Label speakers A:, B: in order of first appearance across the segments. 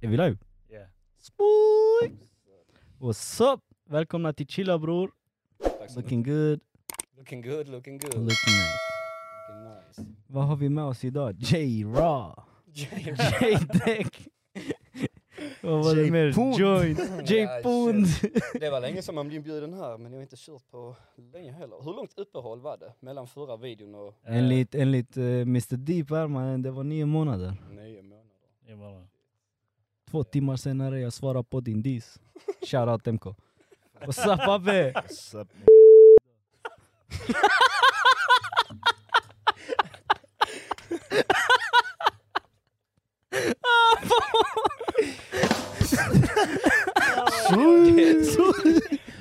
A: Är vi live?
B: Yeah.
A: Spooj! What's up? Välkomna till Chilla bror.
B: Tack så mycket.
A: Looking good,
B: Looking good, looking good.
A: looking nice.
B: Looking nice.
A: Vad har vi med oss idag? J-Raw.
B: J-
A: J-Deck. Vad var det
C: J
A: mer?
C: Pund.
A: Joint.
B: Ja,
A: J-Pund.
B: det var länge som man blev inbjuden här men jag har inte kört på länge heller. Hur långt uppehåll var det mellan förra videon och eh,
A: enligt enligt eh, Mr Deep här mannen, det var nio månader.
B: nio månader?
C: Jag bara,
A: Två timmar senare jag svarar på din diss. Shoutout MK. What's up abbe?
C: sup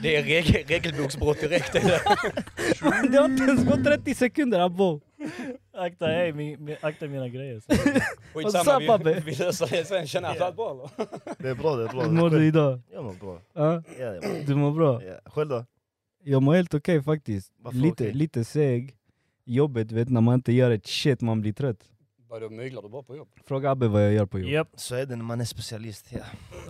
B: Det är reg- regelboksbrott direkt. det där.
A: Det har inte ens gått 30 sekunder abbo.
C: akta,
A: Mm.
C: hej, min, min, akta mina grejer.
A: What's up,
B: Skitsamma,
A: Abbe?
B: vi, vi löser det sen. Tjena, allt bra eller?
D: Det är bra, det är bra.
A: Hur mår du idag?
D: Jag mår bra.
A: Ja,
D: Ja, jag mår
A: Du mår bra?
D: bra. Ja. Själv då?
A: Jag mår helt okej faktiskt.
D: Varför
A: Lite,
D: okej?
A: lite seg. Jobbet, vet när man inte gör ett shit man blir trött.
B: Vadå, myglar du bara på jobb?
A: Fråga Abbe vad jag gör på jobbet.
C: Japp,
D: Så är det när man är specialist. Ja.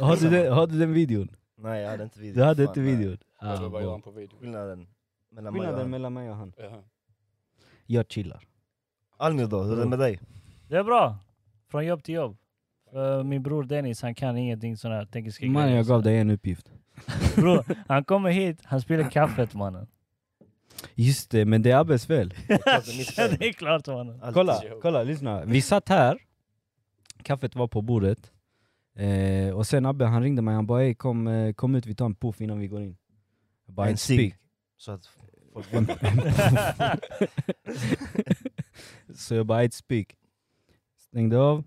A: Har, du den, har du den videon?
D: Nej, jag hade inte video.
A: Du hade
D: Fan,
A: inte
D: nej.
A: videon?
B: Eller vad gör
A: bra.
B: han på video?
D: Skillnaden mellan mig och
A: Skillnaden
D: han.
A: mellan mig och han.
B: Jaha.
A: Jag chillar.
D: Almir då, hur är det med dig?
C: det är bra. Från jobb till jobb. För min bror Dennis, han kan ingenting sån här tekniska
A: Man, jag gav dig en uppgift.
C: Bror, han kommer hit, han spiller kaffet mannen.
A: Just det, men det är Abbes fel.
D: klart det är mitt fel.
C: det är klart mannen.
D: Allt.
A: Kolla,
B: Joe.
A: kolla, lyssna. Vi satt här, kaffet var på bordet. Eh, och sen Abbe han ringde mig, han bara "Ey, kom, eh, kom ut vi tar en puff innan vi går in. Jag bara,
D: En
A: "Inte
D: cigg."
A: speak."
D: Så att folk
A: En- en puff. Så jag bara "Inte speak. Stängde av,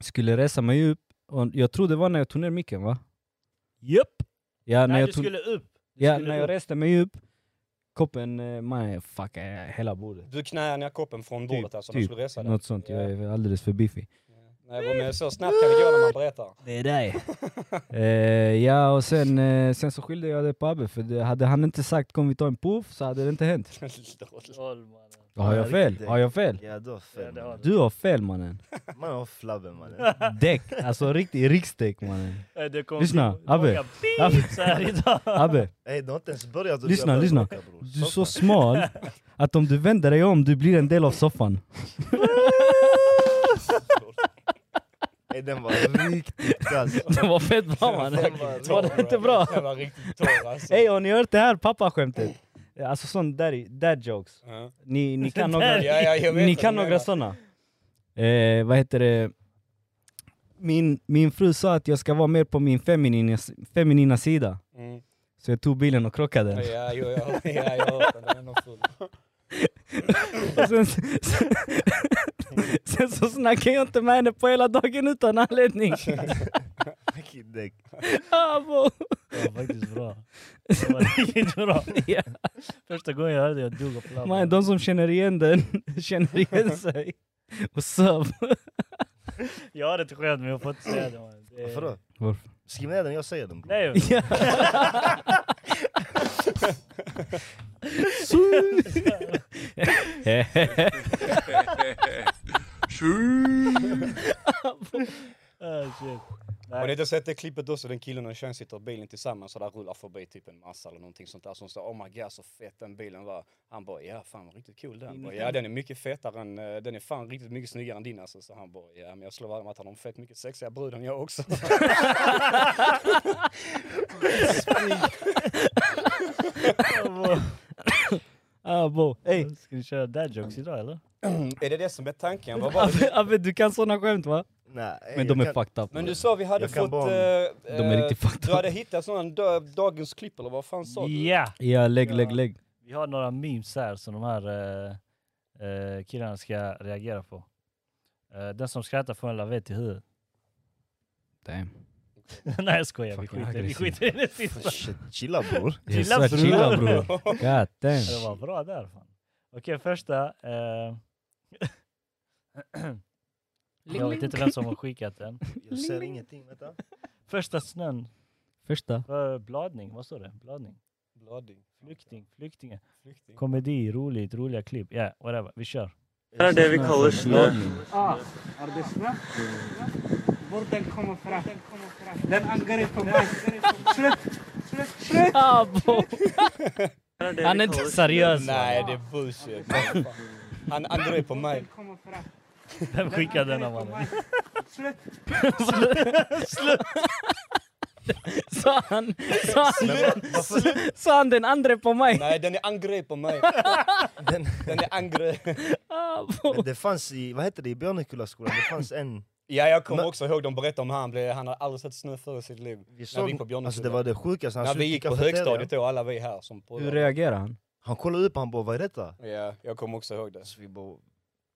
A: skulle resa mig upp. Och jag tror det var när jag tog ner micken va?
C: Japp!
A: Ja, när
C: Nej,
A: jag,
C: du
A: tog,
C: skulle upp.
A: ja,
C: skulle
A: när jag
C: upp.
A: reste mig upp, koppen, eh, man jag fuckade hela bordet.
B: Du knäade ner koppen från bordet alltså, när du
A: typ.
B: skulle resa dig?
A: Något sånt, jag
B: Ja.
A: är alldeles för biffig.
B: Nej, jag var med så snabbt kan det gå när man berättar.
A: Det är dig. ja, och sen, eh, sen så skyllde jag det på Abbe, för det, hade han inte sagt kom vi ta en puff så hade det inte hänt.
B: Lol.
C: Lol, mannen.
A: Har jag fel?
D: riktigt.
A: Har jag fel?
D: Ja, du har fel.
C: Ja, det har
D: mannen.
A: Du har fel mannen.
D: Man har flabben mannen.
A: Däck, alltså riktig riksdäck mannen.
C: Eh, Det kom
A: Lyssna, Abbe.
C: Abbe.
A: Abbe.
C: Så här idag.
A: Abbe,
D: Ey, du har inte ens börjat. och
A: Lyssna,
D: jag börjar
A: lyssna.
D: bråka, bror.
A: du är så
D: Soffan.
A: smal att om du vänder dig om du blir en del av soffan.
D: Ey, den var riktigt kass.
A: Det var fett bra mannen.
D: Den var
A: Var det inte bra?
B: Den var riktigt torr alltså.
A: Hej har ni hört det här pappaskämtet? Alltså sån daddy, dad jokes.
B: Ja.
A: Ni, ni kan
B: Ja,
A: några...
B: ja, jag vet
A: Ni
B: vad
A: kan
B: du
A: några
B: menar.
A: sådana? Eh, vad heter det? Min, min fru sa att jag ska vara mer på min feminina, feminina sida.
B: Mm.
A: Så jag tog bilen och
B: Ja,
A: krockade.
B: ja, jo, ja, ja, jag har hört den. Den är nog full.
A: Och sen, sen, sen så snackade jag inte med henne på hela dagen utan anledning.
D: Vilket däck.
A: Ah, bo.
C: Det var faktiskt bra. Det var riktigt bra.
A: Ja.
C: Första gången jag hörde det, jag dog av flamman.
A: Man, de som känner igen den känner igen sig. Och så,
C: Jag har ett skämt men jag får inte säga det. Man.
A: Eh.
C: det
D: Varför då?
A: Varför?
D: Skriv ner den, jag säger den. bror.
C: Nej,
A: Ja. Så-
C: ah, shit.
B: Har ni
C: Nej.
B: inte sett det klippet också? Den killen och en tjejen sitter i bilen tillsammans och där rullar förbi typ en massa eller någonting sånt där som står oh my god så fet den bilen var. Han bara ja fan vad riktigt cool den. Bara, ja den är mycket fetare än, eh, den är fan riktigt mycket snyggare än din alltså. Så han bara ja men jag slår vad om att han har en fett mycket sexiga brud än jag också.
A: Ah, bo. Ey,
C: Ska vi köra dad jokes idag eller?
B: är det det som är tanken? Vad var det?
A: Abbe, Abbe, du kan såna skämt va?
D: Nej, ey,
A: Men de
D: jag
A: är
D: kan-
A: fucked up.
B: Men du sa vi hade
D: Jag kan
B: fått...
D: bara om-
B: eh,
A: De är
B: eh,
A: riktigt fucked
B: Du
A: up.
B: hade hittat sån här dö- dagens klipp eller vad fan sa du?
C: Ja!
A: Ja, lägg,
B: Ja.
A: lägg, lägg.
C: Vi har några memes här som de här eh, eh, killarna ska reagera på. Eh, den som skrattar får en lavett i huvudet.
A: Damn.
C: Nej jag skojar, vi
A: Fucking
C: skiter, vi
A: aggressiv.
C: skiter i det sista.
D: Shit, chilla bror.
A: Jag sa
C: Chilla, bror.
A: chilla bror. God
C: Det
A: damn.
C: var bra där fan. Okej, första. Eh, jag vet inte vem som har skickat den.
D: Jag ser ingenting, vänta.
C: Första snön
A: Första.
C: för bladning, vad står det? Bladning?
B: Bloody.
C: Flykting, flyktingar.
B: Flykting.
C: Komedi, roligt, roliga klipp. Ja, whatever. Vi kör.
E: Det är det vi kallar snö.
A: Lagning.
F: Ah, är det snö?
E: Var den kommer fram. Den angrep på mig. Slut! Slut! Slut!
A: Ah,
C: Abo. Han är inte
A: Alltså.
C: seriös.
B: Nej, det är bullshit. Han, han drog på mig.
E: Den kommer fram.
C: Vem skickade denna
E: angrep på
C: mannen?
E: mig. Slut!
A: Sa han, sa han, sa han den andra på mig?
B: Nej, den är angrep på mig.
D: Den,
B: Den är angrep.
A: Abo.
D: det fanns i, vad heter det, i Björnekullaskolan, det fanns en...
B: Ja, jag kommer
D: Men-
B: också ihåg de berättade om han. blev- Han hade aldrig sett snö förr i sitt liv.
D: Vi
B: När vi gick på
D: såg,
B: Björnekulla.
D: alltså det var det sjukaste, han
B: När
D: satt
B: vi
D: i
B: gick på
D: cafeterian.
B: högstadiet då, alla vi här som på
A: Hur reagerar han?
D: Han kollade upp, han bara vad är detta?
B: Ja, jag kommer också ihåg det.
D: Så vi bara,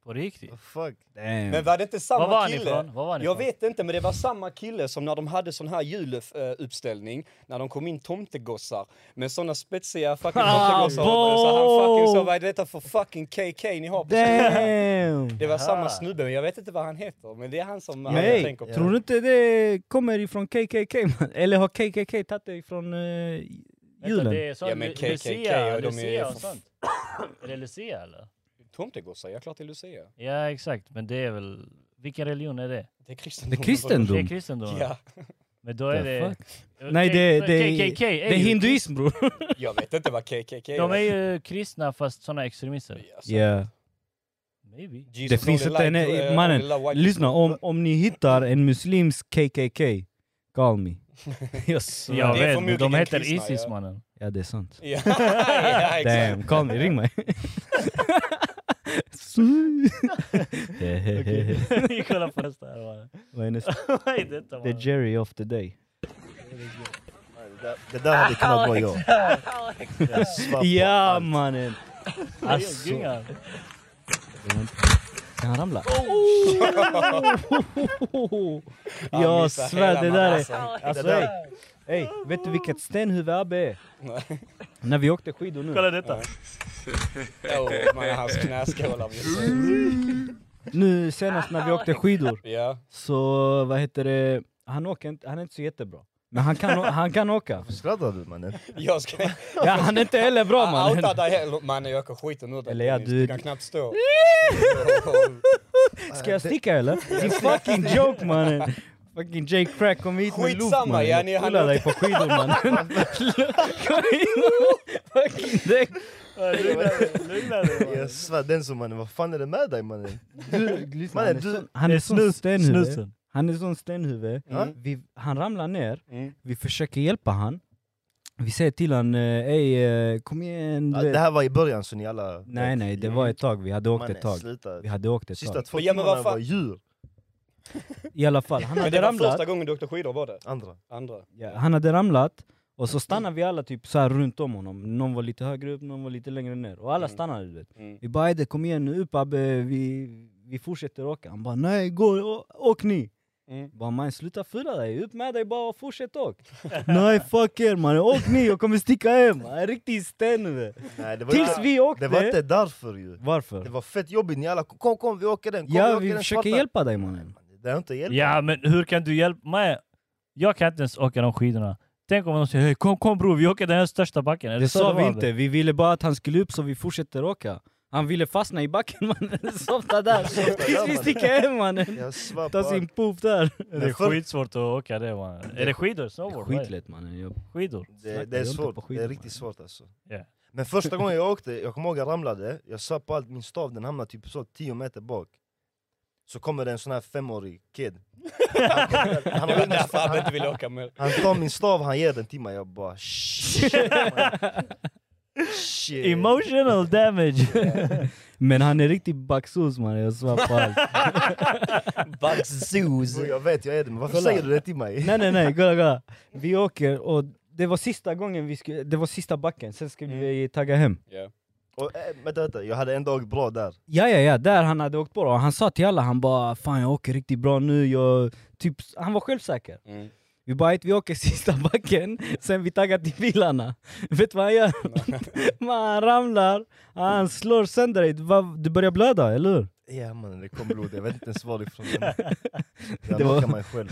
C: På riktigt?
D: "What the fuck?
A: Damn.
B: Men var det inte samma
C: Var var han
B: kille?
C: ifrån? Var var han
B: Jag
C: ifrån?
B: vet inte, men det var samma kille som när de hade sån här juluppställning, när de kom in tomtegossar med såna spetsiga fucking
C: Ah,
B: tomtegossar.
C: bo!
B: så han fucking sa, vad är detta för fucking KK ni har på skolan?"
A: Damn!
B: Det var
C: Aha.
B: samma snubbe, men jag vet inte vad han heter. Men det är han som alla
A: Nej,
B: tänker på.
A: Tror du inte det kommer ifrån KKK? man? Eller har KKK tagit det ifrån eh,
C: Vänta,
A: julen?
C: det är sånt,
B: Ja, men
C: Lu-
B: KKK,
C: Lucia,
B: ja, de är
C: Lucia och
B: för-
C: sånt. Är det Lucia eller?
B: Tomtegossar, jag klart det är Lucia.
C: Ja exakt, men det är väl... Vilken religion är det?
B: Det är kristendomen.
A: Det är kristendom.
C: Det är kristendomen?
B: Ja,
C: Men då är
A: The
C: det...
A: Nej, det- det är-
C: KKK är
A: Det är
C: ju
A: hinduism bror!
B: jag vet inte vad KKK
C: krist- De är ju kristna fast såna extremister.
B: Ja, så-
A: Yeah.
C: Maybe.
B: Jesus
A: Det finns
B: only
A: inte
B: liked,
A: en-
B: eh,
A: mannen,
B: only loved white
A: Lyssna, om, om ni hittar en muslimsk KKK, call me. Jag
C: Jag
A: svär.
B: det är
C: vet, men
B: förmodligen
C: de heter
B: kristna,
C: Isis
B: ja.
C: mannen.
A: Ja det är sant.
B: ja, ja, exakt.
A: Damn, call me, ring mig. Hehehe.
C: Vi kollar på nästa här mannen.
A: Vad är nästa?
C: Vad är
A: The
C: detta mannen?
A: Jerry of the day.
D: Det där- Det där hade kunnat vara jag. Jag svär på
A: Ja
D: allt.
A: mannen!
C: Alltså. Gungan.
A: Kan han ramla? Oh! Jag
B: missar hela
A: svär, det där är...
B: madrassen.
A: Alltså
D: Det där-
A: ey, ey, vet du vilket stenhuvud Abbe är?
B: Nej.
A: När vi åkte skidor nu.
C: Kolla detta.
B: Oh, man, hans knäskålar.
A: Nu senast när vi åkte skidor,
B: Ja,
A: så vad heter det, han åker inte, han är inte så jättebra. Men han kan, å- han kan åka.
D: Varför skrattar du mannen?
B: jag ska...
A: Ja, han är inte heller bra
B: Ah, Outa
A: mannen.
B: dig heller. Mannen jag åker skiten ur dig.
A: Eller ja,
B: Dennis.
A: du-
B: du kan knappt stå.
A: Ska jag sticka eller? Din fucking joke mannen! Fucking Jake Crack kom hit med loop
B: Skitsamma,
A: mannen.
B: ja, ni-
A: Jag
B: han
A: pullar dig
B: åker-
A: på skidor mannen. Kom in! Fucking däck!
C: Lugna dig mannen.
D: Jag svär den som mannen, vad fan är det med dig mannen?
A: Du, lyssna, han
D: Mannen,
A: är
D: du-
A: sån- han är sån
C: Snus-
A: stenhuvud.
C: Snusen.
A: Han är sån stenhuvud.
B: Mm.
A: Vi, han ramlar ner,
B: Mm.
A: vi försöker hjälpa han. Vi säger till han, eh, ey eh, kom igen.
D: Ja,
A: du vet.
D: Det här var i början så ni alla...
A: Nej nej, det var ett tag, vi hade åkt ett tag.
D: sluta.
A: Vi hade åkt ett
D: Sista
A: tag.
D: två
B: Ja, men vad
D: timmarna
B: fan-
D: var djur.
A: I alla fall, han
B: Men
A: hade
B: det var första
A: ramlat.
B: gången du åkte skidor var det?
D: Andra.
B: Andra?
A: Ja, han hade ramlat, och
D: Mm.
A: så stannade vi alla typ så här runt om honom. Någon var lite högre upp, någon var lite längre ner. Och alla
B: Mm.
A: stannade du vet.
B: Mm.
A: Vi bara "Ajde, kom igen nu upp Abbe, vi, vi fortsätter åka. Han bara nej, gå, å, åk ni!
B: Mm.
A: Bara man sluta fula dig, upp med dig bara och fortsätt åk! Nej fuck er mannen, åk ni, jag kommer sticka hem! En riktig sten!
D: Nej, det var
A: Tills
D: inte,
A: vi åkte!
D: det var inte därför ju.
A: Varför?
D: Det var fett jobbigt, ni alla kom kom vi åker den, kom vi
A: Ja
D: åker
A: vi
D: den
A: försöker
D: svarta.
A: hjälpa dig mannen.
D: Det har inte hjälpt.
C: Ja men hur kan du hjälpa mig? Jag kan inte ens åka de skidorna. Tänk om de säger "Hej, kom kom bror vi åker den här största backen. Är
A: Det
C: så
A: sa vi
C: var,
A: inte, vi ville bara att han skulle upp så vi fortsätter åka. Han ville fastna i backen mannen, softa där tills vi sticker hem mannen!
D: Jag svär på
A: Ta sin
D: allt.
A: puff där!
C: Det är
D: Men för-
C: skitsvårt att åka det man. Är det skidor? Snowboard? vad är det?
A: Skitlätt mannen, jag
C: Skidor?
D: Det,
A: Snacka
D: det är
A: inte
D: svårt,
A: på
D: det
A: skidor,
D: är
A: man.
D: riktigt svårt alltså.
C: Ja.
D: Men första gången jag åkte, jag kommer ihåg jag ramlade, jag sa på allt, min stav den hamnade typ så 10 meter bak. Så kommer det en sån här femårig kid. Han, han,
B: Det var
D: han,
B: därför han inte ville åka med.
D: han tar min stav, han ger den till mig, jag bara shit. shit.
C: Emotional damage!
A: Men han är riktigt baxos mannen, jag svär på allt.
D: Bro, Jag vet jag är det, men varför
A: Kolla.
D: säger du det till mig?
A: nej nej nej, kolla kolla. Vi åker och det var sista gången vi skulle, det var sista backen, sen skulle
B: Mm.
A: vi tagga hem.
B: Ja.
D: Och, äh, vänta, vänta, jag hade en dag bra där.
A: Ja ja ja, där han hade åkt på och han sa till alla, han bara 'Fan jag åker riktigt bra nu, jag... Typ, han var självsäker.
B: Mm.
A: Vi bara "Ait, vi åker sista backen, sen vi taggar till bilarna. Vet vad han gör? Man, han ramlar, han slår sönder dig, Va- du börjar blöda, eller hur?
D: Ja mannen det kom blod, jag vet inte ens varifrån. men Jag
A: Det var-
D: knockade mig själv.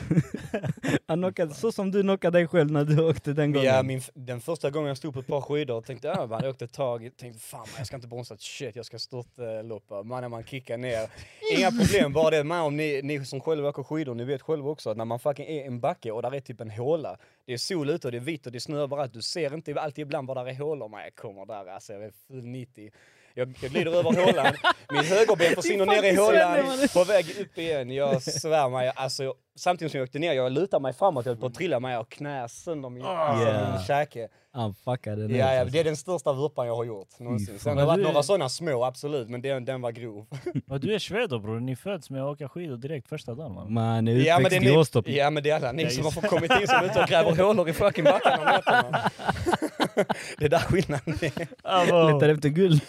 A: Han knockade, så som du knockade dig själv när du åkte den gången.
B: Ja, min, f- den första gången jag stod på ett par skidor och tänkte ah, man, jag åkte ett tag, tänkte fan man, jag ska inte bromsa ett shit, jag ska störtloppa. Mannen man kickar ner. Inga problem, bara det man, om ni, ni som själva åker skidor, ni vet själva också att när man fucking är i en backe och där är typ en håla, det är sol ute och det är vitt och det är snö överallt, du ser inte alltid ibland var där är hålor. Man, jag kommer där alltså, jag är full 90. Jag, jag glider över hålan, min högerben försvinner ner i hålan, på väg upp igen. Jag svär mig, alltså, jag, samtidigt som jag åkte ner, jag lutar mig framåt, jag höll på att trilla mig och knä sönder min,
C: Ah.
B: alltså,
A: Yeah.
B: min käke.
A: Han fuckade ner.
B: Ja, ja,
A: alltså.
B: det är den största vurpan jag har gjort någonsin.
A: fan.
B: Sen har det varit
C: Men du-
B: några sådana små, absolut, men den, den var grov.
C: Men du är sved då bror, ni föds med att åka skidor direkt första dagen man.
A: Man är
B: Ja men,
A: uppväxt
B: det är
A: i
B: ni,
A: Åstorp.
B: ja men det är alla
C: Ja,
B: ni som har
C: just
B: fått kommit in som är ute och gräver hålor i fucking backarna om nätterna. Det är där skillnaden är.
A: Letar efter guld.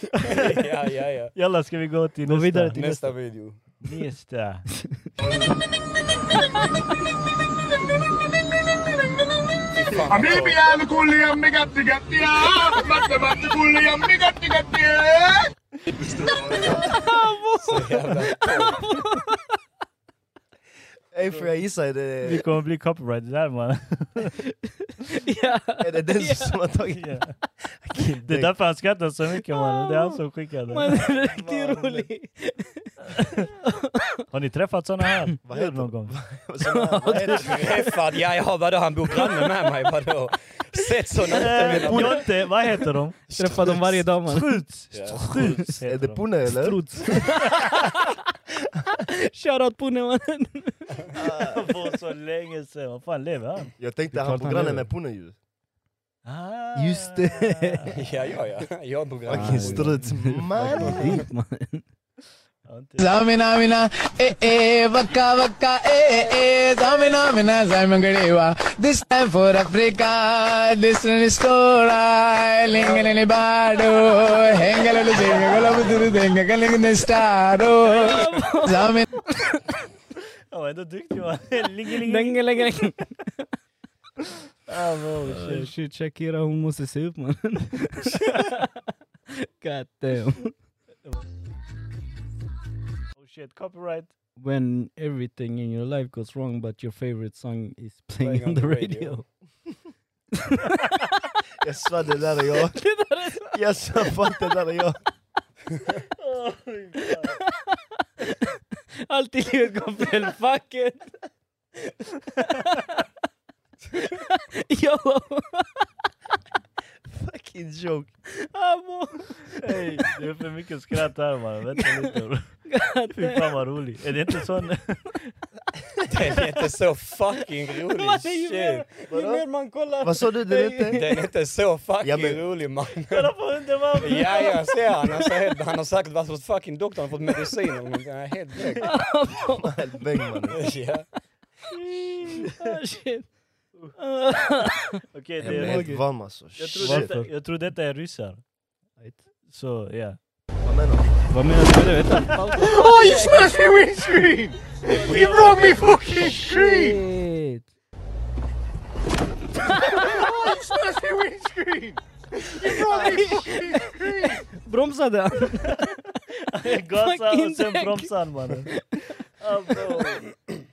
B: Ja, ja, ja.
C: Jalla ska vi gå till
A: Gå
C: nästa?
A: vidare till-
B: Nästa video.
C: nästa.
B: Fy fan, vad
F: حبيبي
B: tråkigt.
F: يا لكل يمي قد قد يا احمد لبعت كل يمي قد قد يا
B: Så jävla-
D: Ey får jag gissa, är det,
C: Vi kommer bli copyrighted där man.
A: ja.
D: är det den som har tagit
C: Ja. Det är därför han skrattar så mycket mannen, det är han som
A: Man
C: skickade.
A: är riktigt rolig.
C: Har ni träffat såna här?
D: Vad
C: djur
D: heter
C: någon gång?
D: Sån här, vad är det?
B: Träffad? Ja, ja, vadå, han bor granne med mig, vadå? Sett såna ute
C: Eh,
B: mellan...
C: Jonte, vad heter de?
A: Träffar dem varje dag man.
C: Struts!
B: Ja.
C: Struts
D: Är
C: heter
D: det
C: de.
D: punne eller?
A: Struts. Shoutout Pune mannen.
C: För så länge sedan, vad fan lever han?
D: Jag tänkte
A: Det är
D: han
A: klart
D: på
A: han
D: grannen
A: gör.
D: med punne ju.
C: Ah.
A: Just det.
B: Ja, ja, ja. Jag bor granne.
D: Fucking struts man.
A: Dit, man.
C: Ja, inte-
G: Zamina mina, eh eh, vaka vaka, eh eh, eh. Zamina mina, Zamangadewa. This time for Africa, this one is Tora, Lingalini Bado, Hengalulu Zinga, Galabuduru Zinga, Galingin Staro. Zamina.
C: Han var ändå duktig man.
A: Länge, länge, länge.
C: Ah, wow, shit.
A: Shit Shakira hon måste se upp mannen. God damn.
C: Oh shit, copyright.
A: When everything in your life goes wrong but your favorite song is playing,
B: Playing
A: on the radio.
D: Jag svär det där är jag. Jag svär fan det där är jag.
A: Allt i livet går fel, fuck it! Yo!
D: Fucking joke.
A: Amo!
C: Hey, det är för mycket skratt här man. Vänta lite bro. Fy fan vad rolig. Är det inte sån?
B: Den är inte så fucking rolig,
A: Ju
B: shit.
A: mer, ju mer man kollar...
D: Vad sa du? Den hette?
B: Den är inte så fucking
D: Ja, men-
B: rolig, man.
C: Kolla på hunden man!
B: Ja, jag ser han. Han, ser helt, han har säkert varit hos fucking doktorn och fått medicin eller någonting. Han är helt blöt.
D: Helt bäng mannen.
B: Ja.
A: Ah, shit.
C: Okej,
D: Jag
C: det
D: blev
C: är...
D: helt varm alltså.
C: Jag tror,
D: Shit.
C: detta, jag tror detta är ryssar. Så ja.
D: Vad menar du?
A: Vad menar du med det? Vänta.
F: Oh you smashed my windscreen! You broke me fucking screen!
A: Shit.
F: Oh you smashed my windscreen! You broke me fucking screen!
A: Bromsade han?
C: Gasar
A: Fucking
C: och sen
A: däck.
C: bromsar han mannen. Ah, bro.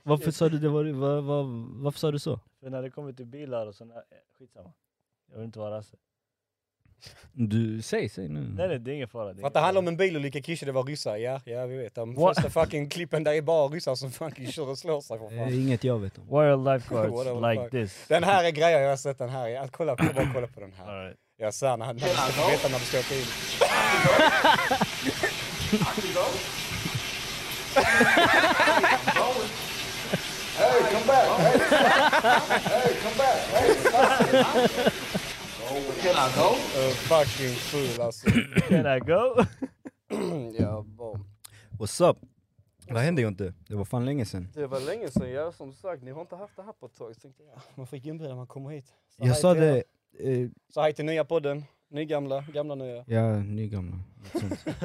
A: Varför sa du det? Var, var, var, varför sa du så?
C: För när det kommer till bilar och sådana, skitsamma. Jag vill inte vara rasse.
A: Du, säg, säg nu.
C: Nej nej, det är ingen fara.
B: För att det handlar om en bilolycka, Kishe, det var ryssar. Ja, ja, vi vet. De första fucking klippen där är bara ryssar som fucking kör och slår sig för
A: Det
B: fan.
A: är Eh, inget jag vet om.
C: Wildlife
B: What
C: cards
B: the
C: like
B: fuck?
C: this.
B: Den här är grejen, jag har sett den här. Jag, kolla på, bara kolla på den här.
C: Alright.
B: Jag ser när han när han ska veta när du ska åka in. Uh, fucking ful alltså.
C: Can I go?
B: ja, bara.
A: What's up? Vad hände Jonte? Det var fan länge sedan.
B: Det var länge sedan, ja som sagt. Ni har inte haft det här på ett tag. Så tänkte jag, man fick inbjudan man kommer hit. Så hej
A: Jag sa
B: till er.
A: det... Eh,
B: Så hej till nya podden. Nygamla, gamla nya.
A: ja, nygamla. något sånt.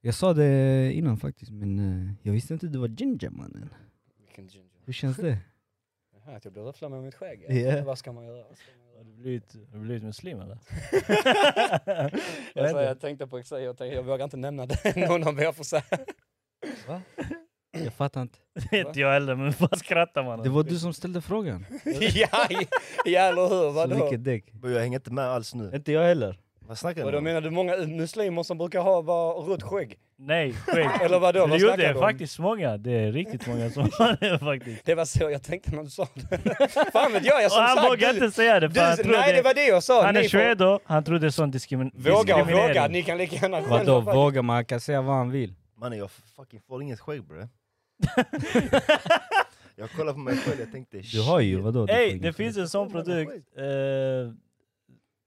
A: Jag sa det innan faktiskt, men eh, jag visste inte du var ginger mannen.
B: Vilken ginger.
A: Hur känns det?
B: Det här, att jag blir röfflad med mitt skägg.
A: Ja.
B: Vad ska man göra? Vad ska man göra?
C: Har du blivit, har du blivit muslim eller?
B: Alltså, Jag, sa, jag tänkte på exakt, jag, tänkte, jag vågar inte nämna det. Någon av er får säga.
A: Va? Jag fattar inte.
C: Vet jag heller, men vad skrattar man åt?
A: Det var du som ställde frågan.
B: ja, ja, eller hur? Vadå?
A: Vilket däck?
D: Bro, jag hänger inte med alls nu.
A: Inte jag heller.
D: Vad snackar du
B: Vadå
D: om?
B: menar du många muslimer som brukar ha bara rött skägg?
C: Nej, skägg.
B: Eller vadå?
C: Det,
B: Vad
C: jo,
B: snackar
C: det är
B: du om?
C: faktiskt många. Det är riktigt många som har det faktiskt.
B: Det var så jag tänkte när du sa det. Fan vet jag, jag
C: Och
B: som
C: han
B: sagt...
C: vågar
B: Du,
C: inte säga det,
B: du,
C: för han tror
B: nej, det var
C: det.
B: det jag sa.
C: Han är
B: Ni får-
C: shwedo, han tror det är sån diskrimi-
B: Våga och
C: diskriminering.
B: våga, ni kan lika gärna
A: Vadå
B: själva.
A: våga? Man kan säga vad han vill.
D: Mannen jag fucking får inget skägg bre. jag kollar på mig själv, jag tänkte
A: Du har ju
D: shit.
A: vadå?
C: Ey,
A: Du-
C: det finns en sån produkt. eh,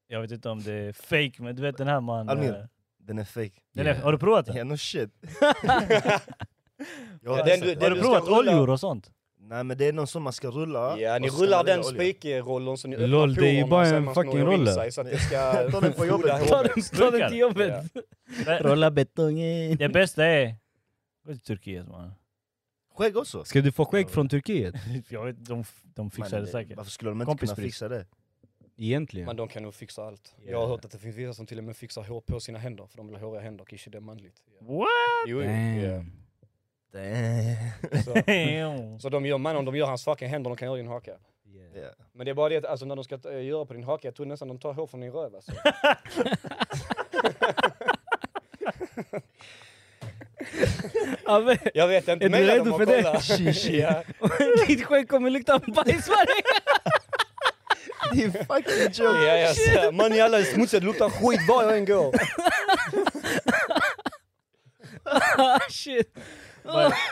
C: jag vet inte om det är fake, men du vet den här man...
D: Almir.
C: eh,
D: Den är fake.
C: den är, har du provat den?
D: Yeah, no shit. jag
B: Ja,
D: har
B: den
D: den,
B: du-
C: Har
B: den
C: du
B: du
C: provat
B: ska rulla-
C: oljor och sånt?
D: Nej men det är någon som man ska rulla.
B: Ja, ni
D: och så ska
B: rullar
D: man lägga
B: den
D: olja.
B: spikrollen som ni öppnar
A: Lol, det är ju
B: porerna
A: bara
B: och sen
A: en
B: man snor
A: fucking
B: in
A: roller.
B: sig Så att det ska
D: Ta den på jobbet.
B: foda
A: Ta
B: håret.
A: den, ta den till jobbet!
C: Men
A: Rolla betongen!
C: Det bästa är... Gå till Turkiet man.
D: Skägg också.
A: Ska du få skägg från Turkiet?
C: Jag vet, de, de fixar
D: Men,
C: det säkert.
D: Varför skulle de inte kunna
C: Kompisbrist.
D: fixa det?
B: Men
A: Egentligen.
B: de kan nog fixa allt. Jag har hört att det finns vissa som till och med fixar hår på sina händer för de vill ha håriga händer, kanske det är manligt. Ja.
C: What?
B: Jo, jo, ja.
A: Damn.
B: Så, så de gör, man, om de gör hans fucking händer, de kan göra din haka.
D: Ja.
B: Men det är bara det att alltså, när de ska eh, göra på din haka, jag tror nästan de tar hår från din röv alltså.
A: Abbe,
B: Jag vet inte,
A: Är du
B: mejla
A: redo
B: dem och
A: för det?
B: kolla.
A: Shit, shit.
B: ja.
A: ditt skägg kommer lukta bajs varje
D: Det är fucking joke.
B: Ja, jag ser. Man i alla är smutsiga, det luktar skit var jag än går.
A: gång! Shit!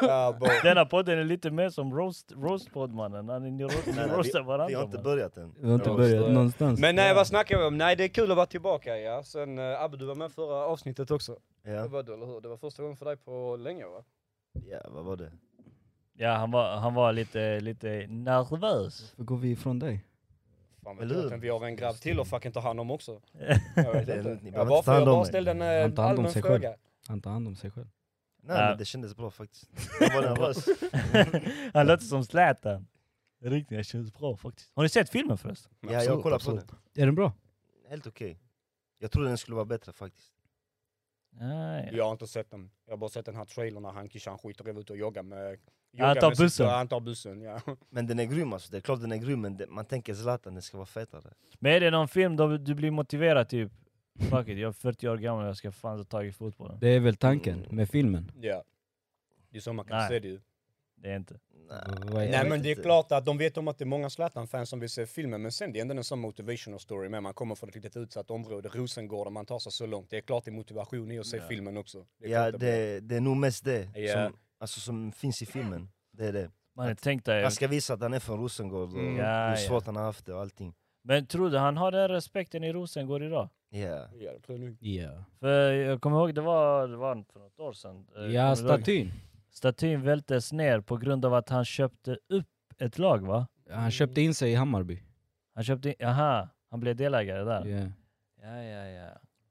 B: Ja, bara-
C: Denna podden är lite mer som roast, roastpodd mannen. När ni roast,
D: Nej, nej,
C: roastar
D: Vi
C: varandra.
D: har inte
C: man.
D: börjat än.
A: Vi har inte
B: Ja,
A: börjat
B: så-
A: någonstans.
B: Men nej, vad snackar vi om? Nej, det är kul att vara tillbaka ja. Sen, uh, Abbe du var med förra avsnittet också. Det
D: Ja.
B: var du, eller hur? Det var första gången för dig på länge va?
D: ja, vad var det?
C: Ja, han var, han var lite, lite nervös.
A: Varför går vi ifrån dig?
B: Fan,
D: Eller hur?
B: men vi har en grabb till och fucking ta hand om också. Jag vet
D: Det är lugnt,
B: inte.
D: ni
B: Jag bara,
D: behöver inte ta hand
B: jag
D: om
B: bara
D: mig.
B: ställde en
A: Han tar
B: eh,
A: hand om
B: allmän
A: sig själv.
B: fråga.
A: Han tar hand om sig själv.
D: Nej
C: Ja.
D: men det kändes bra faktiskt. Jag var nervös.
C: Han låter som Zlatan. Riktigt, det känns bra faktiskt. Har ni sett filmen förresten?
D: Ja, jag kollar på den.
A: Är den bra?
D: Helt okej. Jag trodde den skulle vara bättre faktiskt.
C: Nej.
B: Jag har inte sett den. Jag har bara sett den här trailern när han kishan skiter ut och joggar med...
C: Han
B: joggar
C: tar
B: med sitt-
C: bussen.
B: Ja, Han tar bussen, ja.
D: Men den är grym alltså, det är klart den är grym men det, man tänker Zlatan, den ska vara fetare.
C: Men är det någon film då du blir motiverad typ? Fuck it, jag är 40 år gammal jag ska fan ta tag i fotbollen.
A: Det är väl tanken med filmen?
B: ja. Det är så man kan
C: Nej.
B: se det ju.
C: Det är inte.
A: Vad är-
D: Jag
B: Nej
D: vet
B: men det är
D: inte.
B: klart att de vet om att det är många Zlatan-fans som vill se filmen men sen det är ändå en sån motivational story med man kommer från ett litet utsatt område, Rosengård och man tar sig så långt. Det är klart det är motivation i att se
C: Ja.
B: filmen också. Det är
D: Ja,
B: klart blir-
D: det, det är nog mest det
B: Ja.
D: som, alltså, som finns i filmen. Det är det.
C: Man tänk dig.
D: Han ska visa att han är från Rosengård och
B: Mm.
C: Ehm. Ja,
D: hur
C: ja.
D: svårt han har haft det och allting.
C: Men tror du han har den respekten i Rosengård idag?
D: Ja.
B: Ja, det tror jag nog.
A: Ja.
C: För jag kommer ihåg, det var, det var för något år sedan. Eh, kommer
A: Ja,
C: du ihåg?
A: statyn.
C: Statyn vältes ner på grund av att han köpte upp ett lag va?
A: Han köpte in sig i Hammarby.
C: Han köpte in, aha, han blev delägare där.
A: Ja.
C: Ja, ja, ja.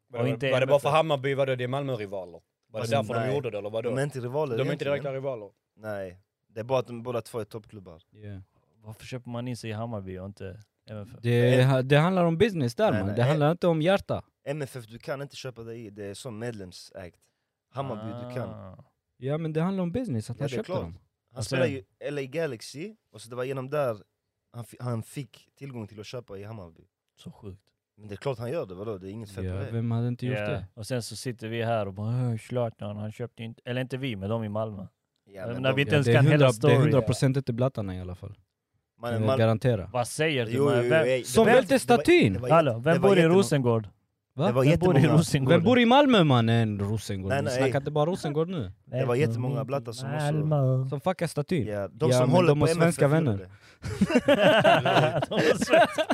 B: Var,
C: Och
B: det-
C: inte
B: var det
C: MFF.
B: bara för Hammarby, var det, det är Malmö-rivaler? Var det
D: Alltså,
B: därför de
D: nej.
B: gjorde det eller vadå?
D: De är inte rivaler
B: de är inte
D: egentligen.
B: direkta rivaler.
D: Nej, det är bara att de båda två är toppklubbar.
A: Ja.
C: Varför köper man in sig i Hammarby och inte MFF?
A: Det, det handlar om business där
D: Nej,
A: man.
D: nej.
A: Det handlar inte om hjärta.
D: MFF, du kan inte köpa dig i, det är som medlemsägt. Hammarby, du kan.
C: Ah. Alltså,
A: Ja men det handlar om business, att
D: Ja,
A: han
D: det är
A: köpte
D: klart.
A: dem.
D: Han spelade ju LA Galaxy, och så det var genom där han, fi- han fick tillgång till att köpa i Hammarby.
C: Så sjukt.
D: Men det är klart han gör det, vadå? Det är inget fel
A: Ja,
D: på det.
A: vem hade inte gjort
C: Ja.
A: det?
C: Och sen så sitter vi här och bara "Åh, Zlatan, han köpte inte... Eller inte vi, men de i Malmö.
D: Ja,
C: Men
D: men
C: när
D: de-
C: vi inte-
A: Ja,
C: ens
A: det är
C: kan hela
A: 100 det är
C: story.
A: 100% inte blattarna i alla fall.
D: man,
A: Jag
D: man,
A: garanterar.
C: Vad säger du?
D: Jo, jo,
C: man?
D: jo,
C: vem,
D: ej, det
A: Som
D: var-
A: välte
D: det var-
A: statyn!
D: det var jätte-
C: Hallå,
D: det
C: vem
D: var
C: bor i
D: jättemånga-
C: Rosengård?
A: Va?
D: Det var
C: Vem bor i
D: jättemånga,
C: Rosengård?
A: Vem bor i Malmö mannen? Rosengård.
D: Nej,
A: Vi
D: nej.
A: snackar inte bara Rosengård nu.
D: det var jättemånga blattar som också-
C: Malmö.
A: Som fuckar statyn.
D: ja, de
A: Typ. Ja,
D: som
A: men
D: håller
A: de
D: på
A: har
D: MFF
A: svenska
D: gjorde
A: vänner.
D: det.
C: De är svenska.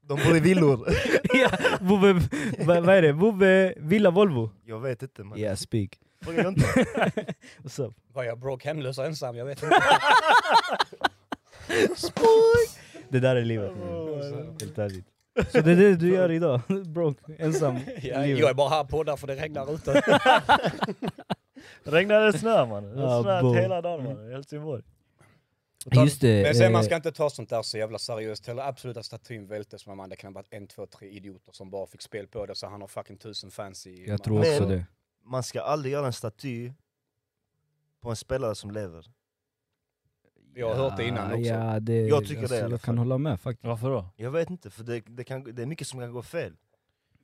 D: De bor i villor.
A: Ja, Bobbe, vad vad är det? Bobbe Villa Volvo?
D: jag vet inte man.
A: Ja, speak.
D: Fråga inte.
A: What's up?
B: Var jag broke, hemlös och ensam? Jag vet inte.
A: Det där är
B: Oh,
A: livet. Helt ärligt. Så det är det du gör idag? Broke, ensam.
B: ja,
A: livet.
B: jag är bara här på där för det regnar ute.
C: Regnar det snö mannen? Det har
A: Ah, bo.
C: snöat hela dagen mannen, i Helsingborg.
A: Just det.
B: Men sen
A: eh,
B: man ska inte ta sånt där så jävla seriöst heller. Absolut att statyn vältes men man, det kan ha varit en, två, tre idioter som bara fick spel på det så han
A: eh,
B: har fucking tusen fans i...
A: Jag tror också det.
D: Man ska aldrig göra en staty på en spelare som lever.
B: Jag har hört det innan också.
A: Ja, det, alltså,
D: Jag tycker det i alla
A: Jag
D: fall.
A: kan hålla med faktiskt.
C: Varför då?
D: Jag vet inte, för det, det, kan, det är mycket som kan gå fel.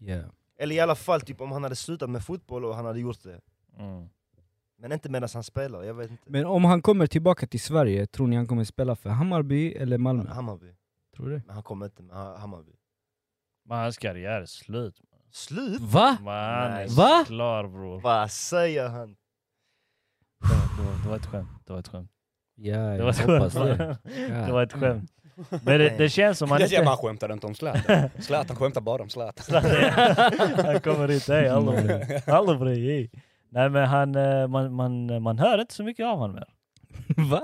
A: Yeah.
D: Eller i alla fall typ om han hade slutat med fotboll och han hade gjort det.
C: Mm.
D: Men inte medan han spelar, jag vet inte.
A: Men om han kommer tillbaka till Sverige, tror ni han kommer spela för Hammarby eller Malmö?
D: Hammarby.
A: Tror du?
D: Men han kommer inte med Ha- Hammarby.
C: Men hans karriär är slut.
D: Slut!
A: Va?
C: Man
D: Nej.
C: är
A: Va?
C: klar bror.
D: Vad säger han?
C: Det var, det var ett skämt. Det var ett skämt.
A: Ja,
C: Det
A: jag
C: var ett
A: hoppas
C: skämt.
A: det. Ja.
C: Det var ett skämt. Men det, det känns som han
B: Jag säger bara,
C: inte...
B: han skämtade inte om Zlatan. Zlatan skämtar bara om Zlatan.
C: han kommer inte, hej hallå bre. Hallå bre, hej. Nej men han, eh, man, man, man hör inte så mycket av honom mer,
A: Va?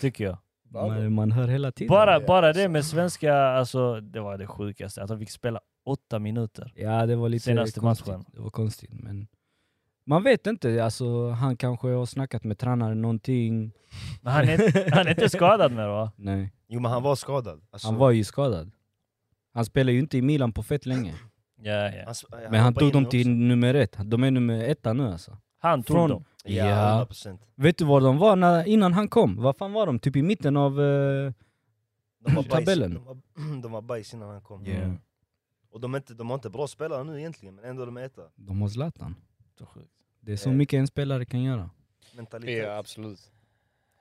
C: tycker jag.
A: Man, man hör hela tiden.
C: Bara,
B: det,
C: bara det med svenska, alltså det var det sjukaste. Att han fick spela åtta minuter.
A: Ja, det var lite
C: Senaste
A: konstigt.
C: matchen.
A: Det var konstigt, men... Man vet inte, alltså, han kanske har snackat med tränaren någonting.
C: Men han är, han är inte skadad mer va?
A: Nej.
D: Jo men han var skadad. Alltså,
A: Han var ju skadad. Han spelade ju inte i Milan på fett länge.
C: Ja, ja.
D: s-
A: Men han
D: hoppade
A: tog
D: in
A: dem
D: också.
A: till nummer ett. De är nummer etta nu alltså.
C: Han tog
A: Från-
C: dem.
A: Ja.
D: Ja, 100%.
A: Vet du var de var när, innan han kom? Vad fan var de? Typ i mitten av... eh,
D: De var bajs-
A: Tabellen.
D: De var, de var bajs innan han kom.
A: Yeah.
D: Och de, är inte, de har inte bra spelare nu egentligen, men ändå de är etta.
A: de har Zlatan.
C: Så sjukt.
A: Det är så
D: Ja.
A: mycket en spelare kan göra.
D: Mentalitet.
B: Ja, absolut.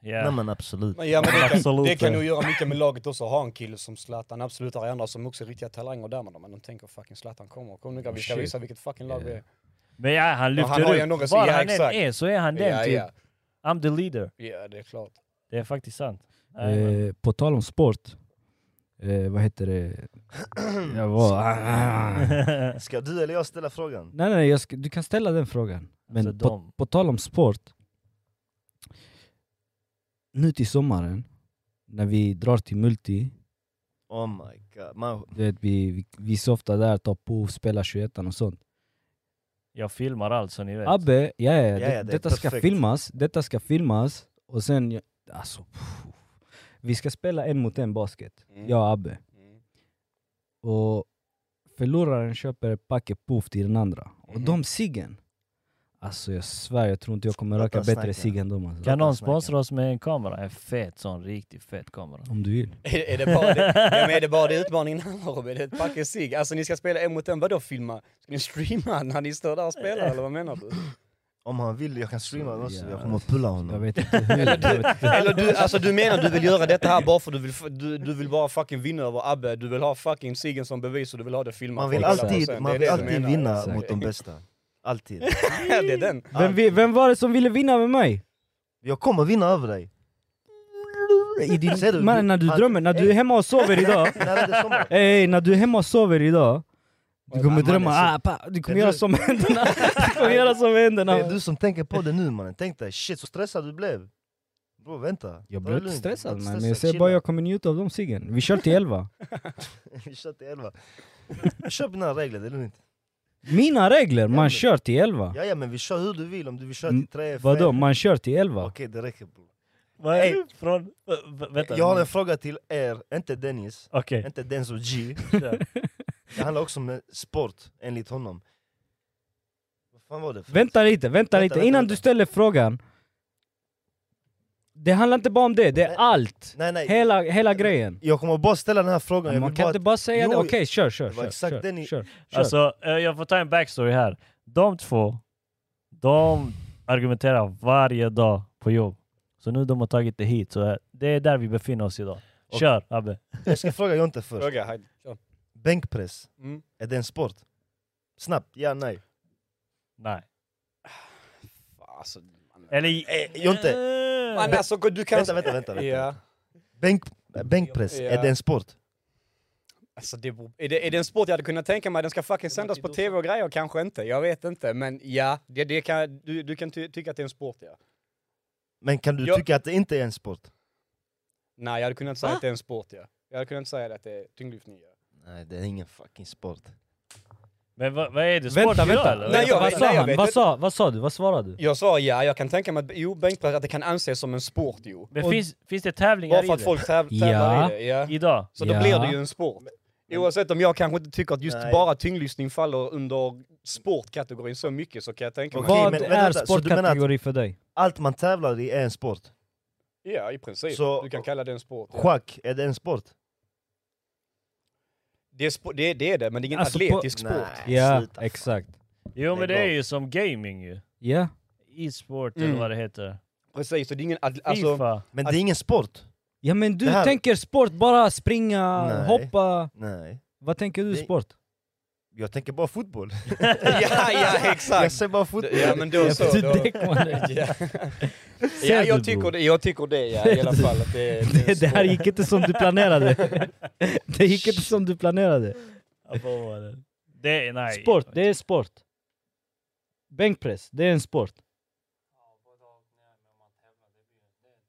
D: Nej
C: Ja.
D: men absolut.
B: Men ja, men det, kan,
C: Absolut.
B: det kan nog göra mycket med laget också, ha en kille som Zlatan, absolut har andra som också är riktiga talanger där men de tänker fucking Zlatan kommer, kom nu grabbar vi ska
A: Shit.
B: visa vilket fucking lag vi är.
C: Men ja, han lyfter
B: han har ju
C: upp.
B: ändå res-
C: Bara
B: ja,
C: han än
B: exakt.
C: är så är han den
B: Ja,
C: typ.
B: ja.
C: I'm the leader.
B: ja, det är klart.
C: Det är faktiskt sant. Nej, men-
A: Eh, på tal om sport. Eh, vad heter det? jag var...
D: Ska du eller jag ställa frågan?
A: Nej, nej, jag ska, du kan ställa den frågan. Men
C: Alltså,
A: på,
C: de-
A: på tal om sport. Nu till sommaren, när vi drar till Multi,
D: Oh my god. Man,
A: du vet, vi, vi, vi softar där, tar prov, spelar 21 och sånt.
C: Jag filmar allt så ni vet.
A: Abbe, ja, ja,
D: Ja, ja,
A: det,
D: det är
A: detta ska
D: perfekt.
A: filmas, detta ska filmas och sen... jag- Alltså, pff. vi ska spela en mot en basket,
B: Mm.
A: jag och Abbe.
B: Mm.
A: Och förloraren köper ett paket puff till den andra. Och
B: Mhm.
A: de ciggen, alltså jag svär, jag tror inte jag kommer
D: Låt
A: röka
D: oss
A: bättre
D: snacka.
A: cigg än dem. Alltså.
C: Kan
D: Låt
C: någon
D: oss snacka.
C: sponsra oss med en kamera? En fet sån, riktigt fet kamera.
A: Om du vill.
B: Är, är, det bara det, ja, men är det bara det utmaningen handlar om? Är det ett paket cigg? Alltså ni ska spela en mot en, vadå filma? Ska ni streama när ni står där och spelar eller vad menar du?
D: om han vill, jag kan streama den också.
A: Ja.
D: Jag kommer att pulla
A: Jag
D: honom.
A: vet inte hur. jag vet inte.
B: Eller du, alltså du menar du vill göra detta här bara för du vill, f- du, du vill bara fucking vinna över Abbe, du vill ha fucking ciggen som bevis och du vill ha det filmat.
D: Man vill
B: på alla
D: alltid,
B: procent.
D: man
B: Det är
D: vill
B: det du
D: alltid
B: menar.
D: vinna
A: Exakt.
D: mot de bästa. Alltid.
B: Ja, det är den.
A: Vem, vi- vem var det som ville vinna med mig?
D: Jag kommer vinna över dig.
A: I din,
D: Ser du?
A: man, när du
D: Han-
A: drömmer, när du är hemma och sover idag.
D: När är det sommar?
A: Ey, ey, när du är hemma och sover idag. Du kommer
D: man är
A: drömma,
D: så-
A: ah, pa, du kommer
D: Det är
A: göra
D: du-
A: som händerna. Du kommer göra som händerna.
D: Det är du som tänker på det nu mannen. Tänk dig, shit så stressad du blev. Bro vänta.
A: Jag
D: Ta
A: blir
D: det
A: inte
D: lugnt.
A: stressad
D: Var
A: man,
D: inte
A: men jag
D: stressad,
A: säger bara
D: chilla.
A: jag kommer njuta av de ciggen. Vi kör till elva.
D: Vi kör till elva. Köp dina regler, det är lugnt.
A: Mina regler, man
D: men-
A: kör till elva.
D: Ja, ja men vi kör hur du vill, om du vill köra
A: Mm,
D: till tre, fem...
A: Vadå, man kör till
D: Okej
A: elva?
D: det räcker bro.
C: Vad är det från... v- v- Vänta.
D: Jag har en fråga till er, inte Dennis,
C: Okej.
D: inte Denzo G.
C: kör.
D: Det handlar också om eh, sport, enligt honom. Vad fan var det för
A: Vänta lite, vänta
D: Vänta,
A: lite,
D: vänta,
A: innan
D: vänta.
A: du ställer frågan. Det handlar inte bara om det, det är
D: Nej.
A: allt.
D: Nej nej,
A: Hela, hela grejen.
D: jag kommer bara ställa den här frågan. Jag
A: Man
D: vill
A: kan
D: bara...
A: inte bara säga
D: Jo,
A: det,
D: jo.
A: okej kör kör.
D: Det var
A: kör,
D: exakt
A: kör,
D: det ni-
A: kör, kör.
C: Alltså, eh, jag får ta en backstory här. De två, de argumenterar varje dag på jobb. Så nu de har tagit det hit, så eh, det är där vi befinner oss idag. Kör Abbe.
D: Jag ska fråga Jonte först.
B: Fråga, hej. Kör.
D: Bänkpress,
B: Mm.
D: är det en sport? Snabbt, ja nej.
C: Nej.
B: Alltså, man,
C: Eller...
D: Eh, Jonte,
B: man, alltså du kan...
D: vänta vänta vänta. vänta.
B: Ja,
D: Bänk, bänkpress,
B: Ja.
D: är det en sport?
B: alltså det, beror- är, det, är det en sport jag hade kunnat tänka mig? Den ska fucking sändas på tv och grejer, kanske inte. Jag vet inte, men ja, det, det kan, du, du kan ty, tycka att det är en sport, ja.
D: Men kan du
B: Ja.
D: tycka att det inte är en sport?
B: Nej, jag hade kunnat säga att det är en sport, ja. Jag hade kunnat säga att det är tyngdlyftning, ja.
D: Nej det är ingen fucking sport.
C: Men vad, vad är det? Sport
A: Vänta,
C: idag,
A: vänta.
C: eller?
B: Nej, jag
A: vad
B: vet-
A: sa
B: nej, jag
A: han?
B: vet
A: Vad
B: inte.
A: sa, vad sa du? Vad svarade du?
B: Jag sa ja, jag kan tänka mig att jo, bänkpress, att det kan anses som en sport, jo.
C: Men
A: Och-
C: finns, finns det tävlingar
B: Bara
C: i
B: för att
C: det?
B: folk täv-
A: Ja.
B: tävlar i det, ja.
C: Idag?
B: Så då
A: Ja.
B: blir det ju en sport. Oavsett om jag kanske inte tycker att just
D: Nej.
B: bara tyngdlyftning faller under sportkategorin så mycket så kan jag tänka mig...
D: Okej,
A: Vad
D: men vänta,
A: är
D: vänta, så du menar att-
A: sportkategori för dig?
D: Allt man tävlar i är en sport.
B: Ja, i princip.
D: Så-
B: du kan kalla det en sport. Ja.
D: Schack, är det en sport?
B: Det, är spo- det, är- det är det, men det är ingen
A: Alltså, på-
B: atletisk sport.
A: Ja,
D: sluta.
A: exakt.
C: Jo men
D: Lägg
C: det är
D: av.
C: ju som gaming ju.
A: Ja,
C: E-sport
B: Mm.
C: eller vad det heter.
B: Precis, så det är ingen... atl- Alltså,
C: FIFA.
D: Men det är ingen sport.
A: ja men du
D: Det här-
A: tänker sport, bara springa,
D: Nej.
A: hoppa.
D: Nej.
A: Vad tänker du
D: Det-
A: sport?
D: Jag tänker bara fotboll.
B: ja, ja,
D: Jag
B: exakt!
D: säger bara fotboll.
B: Ja, men då så.
A: Du
B: Då.
A: däckmannen.
B: Ja.
A: Ser
B: Ja,
A: du,
B: jag
A: bror?
B: tycker det, jag tycker det ja, i alla fall. Att det, det, är en
A: Det här
B: sport.
A: gick inte som du planerade. Det gick inte som du planerade.
C: Jag bara, vad är det? Det är nej.
A: Sport, det är sport. Bänkpress, det är en sport.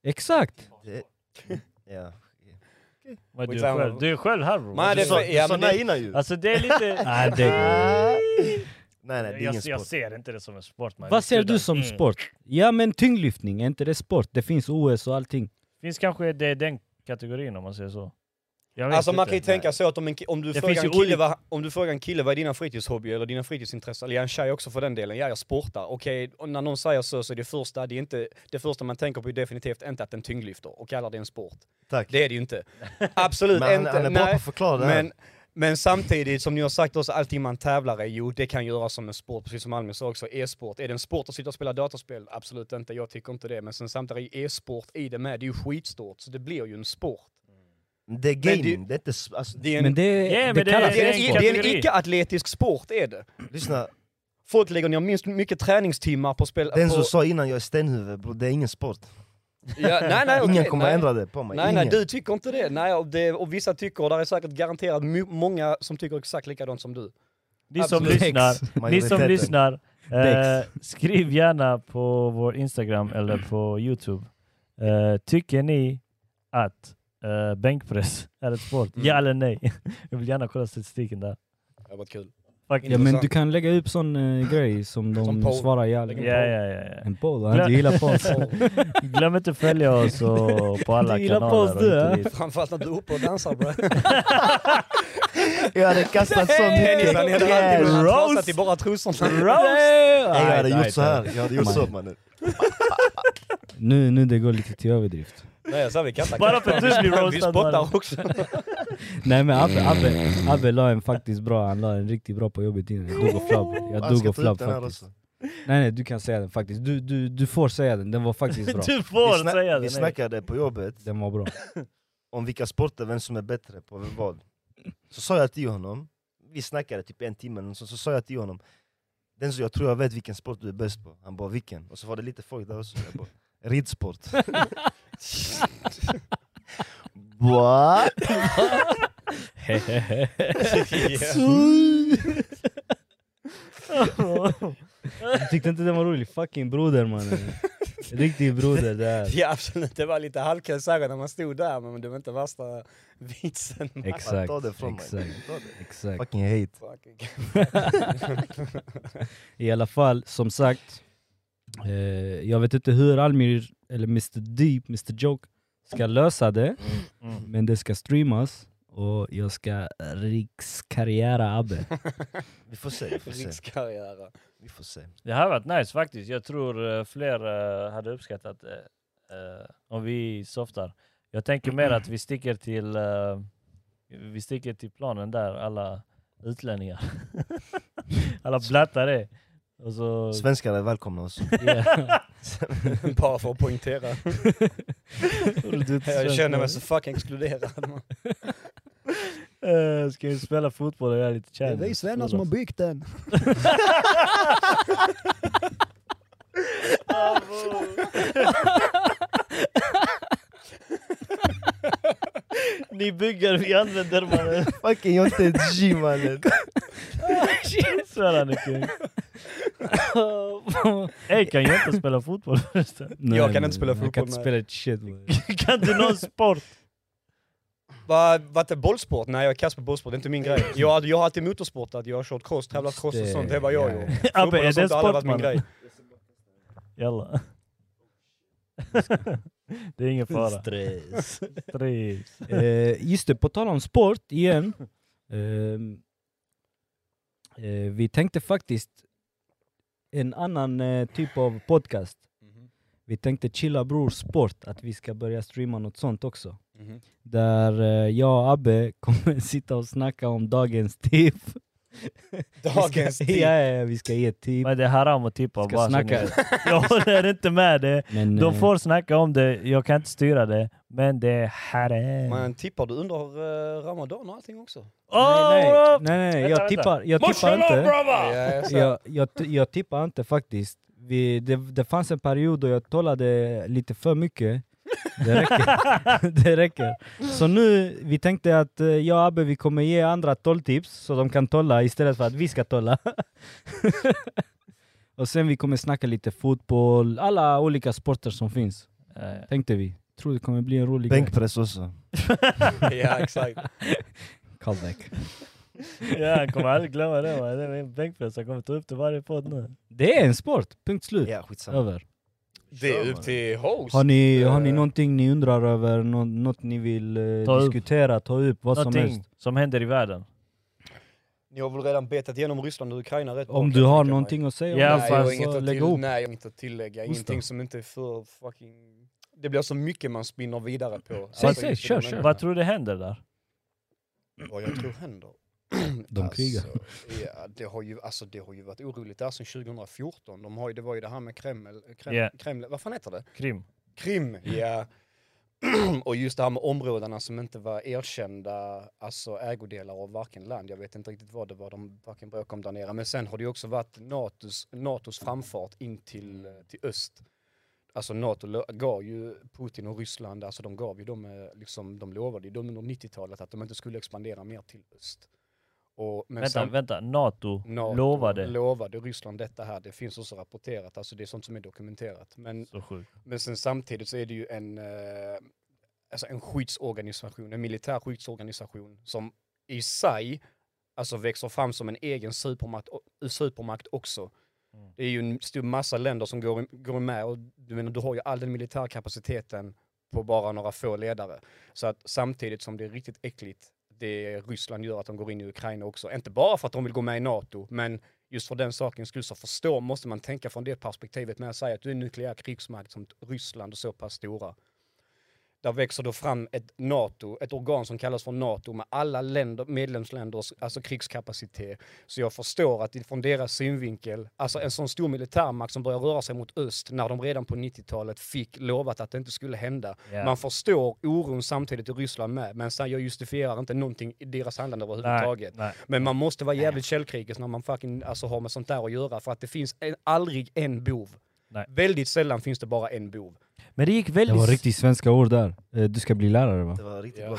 A: Exakt!
D: Det- Ja.
C: Men du, är
B: Skitsamma.
C: själv, du är själv här bror.
B: Men
D: Du
B: det-
D: sa,
B: ja,
D: du sa
B: men det-
D: nej innan ju.
C: Alltså det är lite...
A: Nej, det...
D: Nej nej, det är
C: jag,
D: ingen
C: jag
D: sport.
C: ser inte det som en sport man. Mm.
A: Vad ser du som sport? Ja men tyngdlyftning, är inte det sport? Det finns OS och allting.
C: Finns kanske det är den kategorin om man säger så. Jag vet
B: Alltså man
C: inte.
B: kan ju tänka så att om, en, ki- om, du
C: Det
B: frågar
C: finns ju
B: en kille,
C: olika-
B: vad, om du frågar en kille vad är dina fritidshobby eller dina fritidsintressen, eller en tjej också för den delen, ja jag sportar. Okej, och när någon säger så så är det första, det, är inte, det första man tänker på är definitivt inte att den tyngdlyfter och kallar det en sport.
D: Tack.
B: Det är det ju inte. Absolut
D: Men han,
B: inte.
D: han är bra på
B: nej.
D: att förklara det här.
B: Men, men samtidigt, som ni har sagt också, allting man tävlar i, jo det kan göras som en sport, precis som Almi sa också, e-sport. Är det en sport att sitta och spela dataspel? Absolut inte, jag tycker inte det. Men sen samtidigt, är e-sport i det med, det är ju skitstort, så det blir ju en sport.
D: Det är
B: det-
D: gaming, det är Alltså, inte... sp- Alltså,
B: Det är en,
A: Men det,
C: Ja, men
A: det
C: det-
A: kallas...
B: det är en, det är en
C: kategori.
B: icke-atletisk sport är det.
D: lyssna,
B: Folk lägger ner minst mycket träningstimmar på spel...
D: den som
B: på,
D: sa innan jag är stenhuvud bror, det är ingen sport.
B: ja, nej, nej, okej,
D: Ingen kommer
B: nej.
D: ändra det på mig.
B: Nej,
D: Ingen.
B: nej, du tycker inte det. Nej, och, det, och vissa tycker, och där är säkert garanterat mu- många som tycker exakt likadant som du.
C: Ni som
B: Absolut.
C: lyssnar, Ni som
D: Majoriteten.
C: lyssnar, eh,
A: Dex.
C: skriv gärna på vår Instagram eller på Youtube. Eh, tycker ni att eh, bänkpress är ett sport?
B: Mm.
C: Ja eller nej? Jag vill gärna kolla statistiken där.
B: Det har varit kul.
C: Fuck.
A: Ja men du kan lägga upp sån eh, grej som de
B: Som poll.
A: svarar ja eller
B: Lägg
C: Ja,
B: en
A: nej.
C: ja, ja, ja.
A: En poll, han du gillar polls.
C: Glöm inte att följa oss och på alla
A: Du gillar
C: kanaler.
A: post, du,
C: och
A: ja.
C: hit och dit.
B: Framförallt när du är uppe och dansar bre.
D: Jag hade kastat så mycket.
B: Pennisar ner alltid
D: Nej,
B: men han
C: Roast.
B: trasat i bara trosorna.
D: Jag hade
A: Nej,
D: gjort så här. Jag hade gjort så mannen.
A: Nu, nu det går lite till överdrift.
B: Nej, så här, vi kan inte-
C: Bara för att du blir
B: Vi
C: roastad. bara.
B: spottar också.
A: Nej men Abbe, Abbe,
D: Mm.
A: Abbe la en faktiskt bra, han la en riktigt bra på jobbet innan. Jag dog och flabb. Jag
D: Han
A: dog
D: ska
A: och
D: ta
A: flabb
D: ut den här
A: faktiskt.
D: också.
A: Nej nej, du kan säga den faktiskt. Du, du, du får säga den, den var faktiskt bra.
C: Du
D: Vi,
C: får säga
D: snack, vi
C: det. nej.
D: snackade på jobbet
A: Den var bra.
D: om vilka sporter, vem som är bättre på vad. Så sa jag till honom, vi snackade typ en timme, eller så, så sa jag till honom den som jag tror jag vet vilken sport du är bäst på. Han bara vilken? Och så var det lite folk där också. Jag bara, ridsport. Va?
A: Du tyckte inte den var rolig? Fucking broder mannen. Riktig broder det här.
B: Ja absolut, det var lite halvkul så här när man stod där men det var inte värsta vitsen.
A: Exakt,
D: Ta det från mig.
A: exakt,
D: Ta det.
A: exakt.
D: Fucking hate.
B: Fucking-
A: I alla fall, som sagt. Eh, jag vet inte hur Almir, eller Mr Deep, Mr Joke, ska lösa det.
C: Mm.
A: Men det ska streamas. Och jag ska rikskarriära Abbe.
D: Vi får se, vi får se.
B: Rikskarriär.
D: Vi får se.
C: Det här har varit nice faktiskt. Jag tror eh, fler eh, hade uppskattat eh, eh, om vi softar. Jag tänker mer att vi sticker till, eh, vi sticker till planen där, alla utlänningar. alla blattare. Och så,
D: Svenskar är välkomna också.
B: Bara för att poängtera. Jag känner mig så fucking exkluderad. man.
C: Eh, ska vi spela fotboll och jag är lite kär.
B: byggt den.
C: Ni bygger, vi använder mannen.
D: Fucking jag är inte ett G mannen.
C: Svär han kung. Ey, kan jag inte spela fotboll förresten?
A: Nej,
B: Jag kan inte
A: men
B: spela
A: Jag
B: fotboll
A: kan inte
B: med-
A: spela ett shit. man.
C: kan du någon sport?
B: Va- Vad det bollsport? Nej jag är kass på bollsport, det är inte min grej. Jag, har- jag har alltid motorsportat, jag har kört cross, tävlat cross och
A: Det-
B: sånt, det var jag
A: ja, ja.
B: gjort.
C: Abbe,
B: Fotboll
C: är
B: och
C: det
B: sånt har aldrig
C: sport
B: varit min grej.
C: mannen? Jalla. det är ingen fara. Stress.
A: Eh, just det, på tal om sport igen. Eh, Ehm, Eh, vi tänkte faktiskt en annan eh, typ av podcast.
B: Mhm.
A: Vi tänkte Chilla Bror Sport, att vi ska börja streama något sånt också.
B: Mhm.
A: Där eh, jag och Abbe kommer sitta och snacka om dagens tip.
B: Dagens
A: vi ska,
B: tid.
A: ja, ja, vi ska ge tip.
C: Men det är haram att tippa.
A: Ska
C: bara, så
A: snacka.
C: ni- Jag håller inte med det.
A: Men,
C: De
A: eh,
C: får snacka om det, jag kan inte styra det. Men det är haram.
B: Men tippar du under eh, ramadan och allting också?
C: Oh,
A: nej, nej,
C: bro!
A: nej, nej,
C: Vänta,
A: jag
C: vänta.
A: tippar, jag tippar inte.
B: Ja, jag sa-
A: jag, jag, t- jag tippar inte faktiskt. Vi, det, det fanns en period då jag talade lite för mycket. Det räcker. det räcker. Så nu, vi tänkte att eh, jag och Abbe vi kommer ge andra tolltips så de kan tolla istället för att vi ska tolla. och sen vi kommer snacka lite fotboll, alla olika sporter som finns.
C: Eh,
A: Tänkte vi. Tror det kommer bli en rolig grej.
D: Bänkpress också.
B: ja, exakt.
A: Comeback.
C: Ja, jag kommer aldrig glömma det. Man. Det är min bänkpress, jag kommer ta upp det varje podd nu.
A: Det är en sport, punkt slut.
D: Ja, skitsamma.
A: Över.
B: Det är upp till host.
A: Har ni,
B: Eh,
A: har ni någonting ni undrar över, nå- något ni vill eh,
C: Ta upp.
A: diskutera, ta upp, vad som helst?
C: Någonting som händer i världen.
B: Ni har väl redan betat igenom Ryssland och Ukraina rätt bra,
A: Om
B: kan
A: du
B: jag
A: har
B: tänka mig.
A: någonting att säga
C: Ja,
A: om
B: Nej,
A: det,
B: jag
C: fan,
A: så
B: har inget att
A: lägg
B: till,
A: ihop.
B: nej, jag har inget att tillägga.
A: Just
B: Ingenting
A: det.
B: som inte är för fucking... Det blir så mycket man spinner vidare på.
A: Säg,
B: Alltså,
A: säg,
B: just
A: kör,
B: den
A: kör.
B: änden.
C: Vad tror du händer där?
B: Vad jag tror händer?
A: De krigar.
B: Alltså, ja, det, har ju, alltså, det har ju varit oroligt där sedan 2014. De har ju, det var ju det här med Kreml... Kreml,
C: Ja.
B: Kreml vad fan heter det?
C: Krim?
B: Krim, ja. Och just det här med områdena som inte var erkända alltså ägodelar av varken land. Jag vet inte riktigt vad det var de varken bråkade om där nere. Men sen har det ju också varit NATOs, NATOs framfart in till, eh, till öst. Alltså NATO lo- gav ju Putin och Ryssland, alltså de gav ju dem, eh, liksom, de lovade ju dem under 90-talet att de inte skulle expandera mer till öst. Och, men
C: Vänta,
B: sam-
C: vänta. NATO,
B: NATO
C: lovade.
B: lovade Ryssland detta här. Det finns också rapporterat, alltså det är sånt som är dokumenterat. Men
C: Så sjukt.
B: men sen samtidigt så är det ju en, eh, alltså en skyddsorganisation, en militär skyddsorganisation som i sig alltså växer fram som en egen supermakt, o- supermakt också. Det är ju en stor massa länder som går, går med och du, menar, du har ju all den militärkapaciteten på bara några få ledare. Så att samtidigt som det är riktigt äckligt det Ryssland gör att de går in i Ukraina också. Inte bara för att de vill gå med i NATO, men just för den sakens skull så förstår, måste man tänka från det perspektivet med att säga att du är en nukleär krigsmakt som Ryssland och så pass stora. Där växer då fram ett NATO, ett organ som kallas för NATO med alla länder, medlemsländers alltså krigskapacitet. Så jag förstår att från deras synvinkel, alltså en sån stor militärmakt som börjar röra sig mot öst när de redan på 90-talet fick lovat att det inte skulle hända.
C: Ja.
B: Man förstår oron samtidigt i Ryssland med, men sen jag justifierar inte någonting i deras handlande
C: Nej,
B: överhuvudtaget.
C: nej.
B: Men man måste vara jävligt källkrigisk när man fucking alltså, har med sånt där att göra för att det finns en, aldrig en bov.
C: Nej.
B: Väldigt sällan finns det bara en bov.
C: Men det gick
A: Det
C: väldigt...
A: var riktigt svenska ord där. Eh, Du ska bli lärare va?
D: Det var riktigt
B: Ja.
D: bra.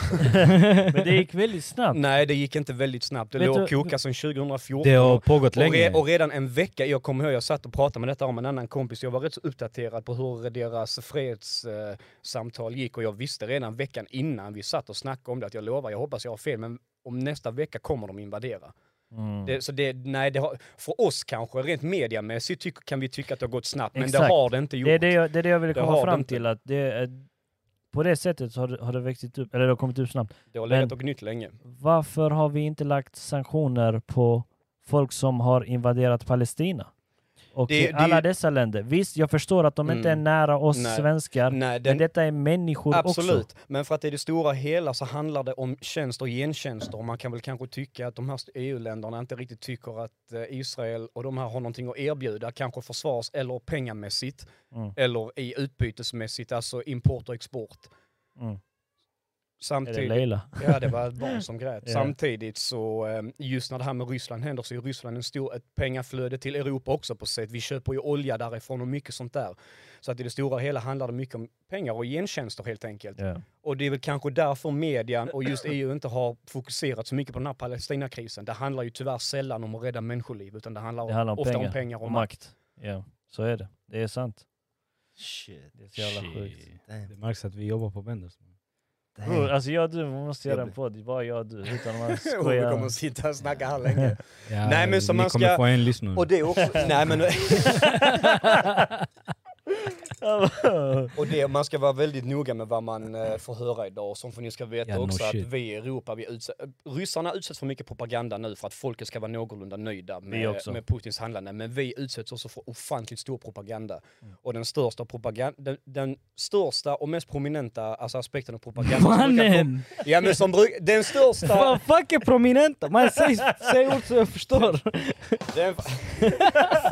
C: Men det gick väldigt snabbt.
B: Nej, det gick inte väldigt snabbt. Det
C: Vet
B: låg
C: du-
B: och kokade sedan 2014.
A: Det har pågått
B: och, re,
A: länge.
B: och redan en vecka, jag kommer ihåg, jag satt och pratade med detta om en annan kompis. Jag var rätt så uppdaterad på hur deras fredssamtal eh, samtal gick och jag visste redan veckan innan vi satt och snackade om det att jag lovar, jag hoppas jag har fel, men om nästa vecka kommer de invadera.
C: Mm.
B: Det, så det, nej, det har, för oss kanske, rent mediamässigt tyck, kan vi tycka att det har gått snabbt, men det
C: Exakt.
B: har det inte gjort.
C: Det är det jag, det är det jag ville
B: Det
C: komma
B: har det
C: fram
B: inte.
C: till. Att det är, på det sättet så har, det- har det växt upp, eller det har kommit upp snabbt.
B: Det har legat
C: Men-
B: och gnytt länge.
C: Varför har vi inte lagt sanktioner på folk som har invaderat Palestina? Och
B: Det- det-
C: alla dessa länder. Visst, jag förstår att de inte är
B: Mm.
C: nära oss
B: Nej.
C: svenskar,
B: Nej, den,
C: men detta är människor
B: absolut.
C: också.
B: Men för att i det stora hela så handlar det om tjänster och gentjänster. Och man kan väl kanske tycka att de här EU-länderna inte riktigt tycker att eh, Israel och de här har någonting att erbjuda, kanske försvars eller pengamässigt,
C: Mm.
B: eller i utbytesmässigt, alltså import och export.
C: Mm. Är det
B: Samtidigt,
C: Leila?
B: Ja, det var ett barn som grät.
C: Ja.
B: Samtidigt så, eh, just när det här med Ryssland händer så är Ryssland en stor, ett pengaflöde till Europa också på sätt. Vi köper ju olja därifrån och mycket sånt där. Så att i det stora hela handlar det mycket om pengar och gentjänster helt enkelt.
C: Ja.
B: Och det är väl kanske därför median och just EU inte har fokuserat så mycket på den här Palestinakrisen. Det handlar ju tyvärr sällan om att rädda människoliv utan det handlar,
C: Det handlar om
B: ofta
C: pengar,
B: om pengar och
C: Och
B: makt.
C: makt. Ja, så är det. Det är sant.
D: Shit.
C: Det är så jävla sjukt.
A: Det
D: Damn.
A: märks att vi jobbar på Benders.
C: Bror,
D: Damn.
C: alltså jag och du måste göra en
D: Jobbigt.
C: podd, bara jag och du. Utan
B: Och
C: man
B: vi kommer
C: skojar.
B: att sitta och snacka här länge.
A: Ja,
B: Nej, men som
A: ni
B: man
A: kommer
B: ska-
A: få en lyssnare.
B: Och det är också... Nej men... Och det, man ska vara väldigt noga med vad man eh, får höra idag. Och som för ni ska veta
A: Ja, no
B: också
A: shit.
B: att vi i Europa, vi utsätts, ryssarna utsätts för mycket propaganda nu för att folket ska vara någorlunda nöjda
C: Vi
B: med,
C: också.
B: med Putins handlande. Men vi utsätts också för ofantligt stor propaganda. Och den största, propaganda, den, den största och mest prominenta alltså aspekten av propaganda... som brukar
A: Mannen!
B: kom- Ja men som bruk, den största...
A: Fan, fuck är prominenta! Man säger, säger ord så jag förstår.
B: den,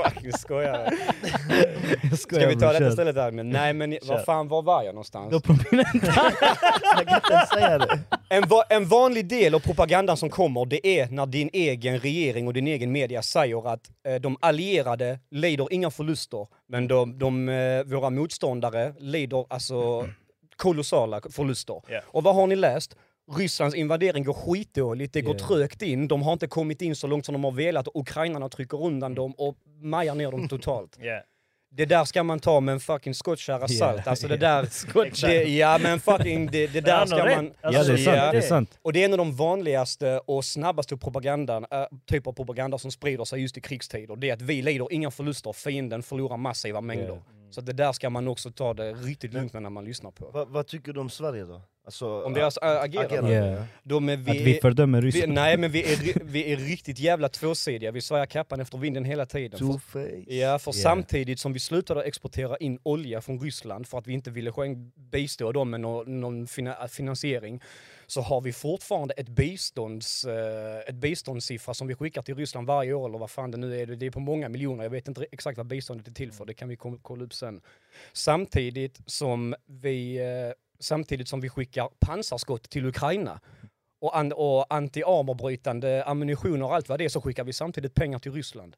B: fuck, nu skojar jag.
A: Jag
B: Ska vi ta detta istället där? Men, nej men vad fan, var var jag någonstans?
A: De prominenta.
D: Jag kan inte ens säga det.
B: En, va en vanlig del av propagandan som kommer det är när din egen regering och din egen media säger att eh, de allierade lider inga förluster men de, de, eh, våra motståndare lider alltså kolossala förluster.
C: Ja.
B: Och vad har ni läst? Rysslands invadering går skitdåligt, det går
A: Ja.
B: trögt in, de har inte kommit in så långt som de har velat och ukrainarna trycker undan dem och majar ner dem totalt.
C: Yeah.
B: Det där ska man ta med en fucking skottkärra
A: Ja,
B: salt. Alltså det där...
C: Skottkärra.
B: Det, ja men fucking, det, det
C: Men
B: där
C: han
B: ska
C: har rätt. Alltså,
B: man...
A: Ja det är sant,
B: Ja.
A: det är sant.
B: Och det är en av de vanligaste och snabbaste propagandan, äh, typ av propaganda som sprider sig just i krigstider. Det är att vi lider inga förluster, fienden förlorar massiva mängder. Så det där ska man också ta det riktigt lugnt med när man lyssnar på.
D: Vad, vad tycker du om Sverige då? Alltså,
B: Om deras äh, agerande.
D: agerande.
A: Ja.
B: De är,
A: Att
B: vi,
A: vi fördömer
B: vi,
A: Ryssland.
B: nej men vi är, ri- vi är riktigt jävla tvåsidiga, vi svajar kappan efter vinden hela tiden. För-
D: Two-face.
B: Ja, för
A: Ja.
B: samtidigt som vi slutade exportera in olja från Ryssland för att vi inte ville skänk- bistå dem med någon, någon fina, finansiering, så har vi fortfarande ett, bistånds, eh, ett biståndssiffra som vi skickar till Ryssland varje år, eller vad fan det nu är. Det är på många miljoner, jag vet inte exakt vad biståndet är till för, det kan vi kom- kolla upp sen. Samtidigt som vi, eh, samtidigt som vi skickar pansarskott till Ukraina, och, an- och anti-armorbrytande ammunition och allt vad det är så skickar vi samtidigt pengar till Ryssland.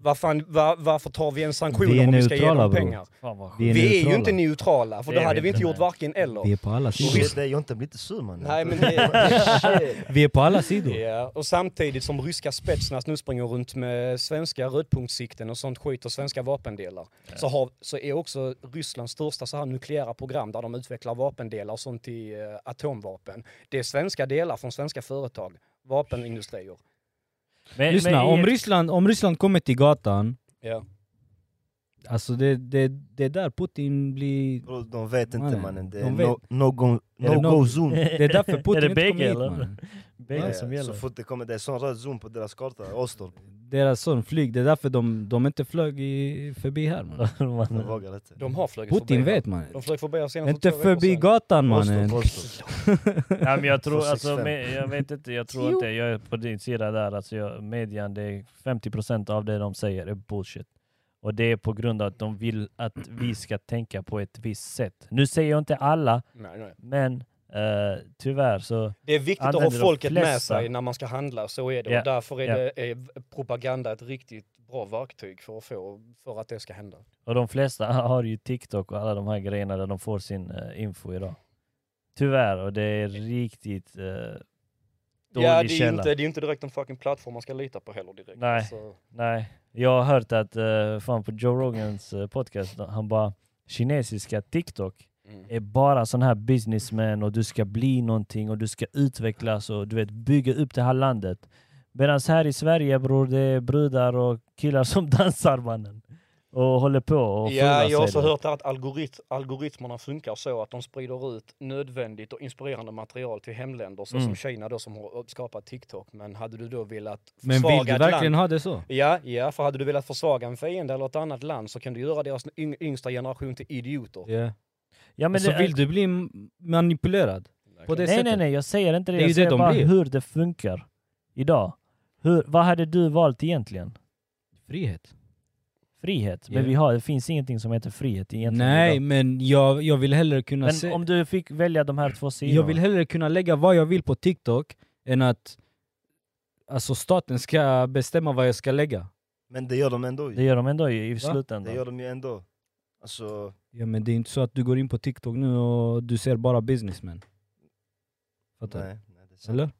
B: Varför, var, varför tar vi en
A: Vi
B: sanktioner
A: är
B: om vi ska ge
A: neutrala,
B: dem
A: bro.
B: pengar?
C: Fan vad sjukt.
A: Vi är,
B: Vi är ju
A: neutrala.
B: inte neutrala, för
C: Det
B: då
C: är vi
B: hade vi inte
C: inte,
B: gjort
C: nej.
B: varken eller.
A: Vi är på alla
D: Shit,
A: sidor.
D: det- Jonte blir lite sur man.
B: Nej men det...
A: Vi är på alla sidor.
B: Ja, och samtidigt som ryska spetsnaz nu springer runt med svenska rödpunktssikten och sånt skit och svenska vapendelar så, har, så är också Rysslands största så här nukleära program där de utvecklar vapendelar och sånt till eh, atomvapen. Det är svenska delar från svenska företag, vapenindustrier.
C: Men- Eh, men
A: Lyssna,
C: i-
A: om Ryssland, om Ryssland kommer till gatan,
B: Ja.
A: alltså det, det, det är där Putin blir...
D: Bro, de vet inte
A: Mannen,
D: mannen, det
A: de
D: är
A: vet.
D: no, no go,
A: Är det
D: no
A: no-
D: go zone.
A: Det är därför Putin
C: Är
A: inte
C: det
A: kommer
C: bägge,
A: hit
C: eller?
A: mannen.
C: Bägge
D: Ja,
C: som
D: ja.
C: gäller.
D: Så fort det kommer, det är sån röd zon på deras karta, Åstorp.
A: Deras son flyg, det är därför de, de inte flög i, förbi här mannen.
D: De
C: Man-
D: vågar inte.
B: Alltså, De har flugit
A: Putin
B: förbi.
A: vet mannen.
B: De flög förbi oss senast
A: Inte
B: för två veckor
A: förbi
B: sedan.
A: gatan mannen.
D: Åstorp, Åstorp.
C: ja, men jag tror,
D: Från
C: alltså,
D: 65.
C: med, jag vet inte, jag tror inte, jag är på din sida där. Alltså, jag, median, det är 50% av det de säger är bullshit. Och det är på grund av att de vill att vi ska tänka på ett visst sätt. Nu säger jag inte alla,
B: Nej, nej.
C: men eh, tyvärr så...
B: Det är viktigt att ha
C: Använder de
B: folket med
C: flesta.
B: sig när man ska handla, så är det.
C: Ja,
B: Och därför är,
C: ja.
B: det, är propaganda ett riktigt bra verktyg för att, få, för att det ska hända.
C: Och de flesta har ju TikTok och alla de här grejerna där de får sin eh, info idag. Tyvärr, och det är riktigt eh, dålig
B: ja, det är,
C: källa.
B: inte, det är inte direkt en fucking plattform man ska lita på heller direkt.
C: Nej.
B: Alltså,
C: Nej, jag har hört att eh, fan på Joe Rogans eh, podcast, han bara kinesiska TikTok
B: mm.
C: är bara sån här businessman och du ska bli någonting och du ska utvecklas och du vet bygga upp det här landet. Medan här i Sverige bror, det är brudar och killar som dansar mannen. Och håller på och
B: Ja,
C: fula
B: jag har
C: sig,
B: också
C: du vet.
B: hört att algorit algoritmerna funkar så att de sprider ut nödvändigt och inspirerande material till hemländer, så som
C: Mm.
B: Kina då som har skapat TikTok. Men hade du då velat
A: Men vill
B: försvaga
A: du
B: ett land-
A: verkligen ha det så?
B: Ja, ja, för hade du velat försvaga en fiende eller ett annat land så kan du göra deras yng- yngsta generation till idioter.
A: Ja.
C: Ja,
A: Men
C: men
A: så
C: det,
A: Alltså, vill du bli m- manipulerad? På det
C: nej,
A: sättet?
C: nej, nej, jag säger inte det.
A: Det är
C: Jag
A: ju det
C: säger
A: de
C: bara
A: blir.
C: hur det funkar idag. Hur, vad hade du valt egentligen?
A: Frihet?
C: frihet. Men
A: Ja.
C: vi har, det finns ingenting som heter frihet egentligen.
A: Nej,
C: idag.
A: men jag, jag vill hellre kunna
C: men
A: se...
C: om du fick välja de här två sidorna.
A: Jag vill hellre kunna lägga vad jag vill på TikTok än att alltså staten ska bestämma vad jag ska lägga.
D: Men det gör de ändå
C: det
D: ju.
C: gör de ändå i, i
D: Det
C: slutändan.
D: gör de ju ändå. Alltså,
A: Ja men det är inte så att du går in på TikTok nu och du ser bara businessmen. Fattar du?
D: nej. nej det är sant.
A: Eller?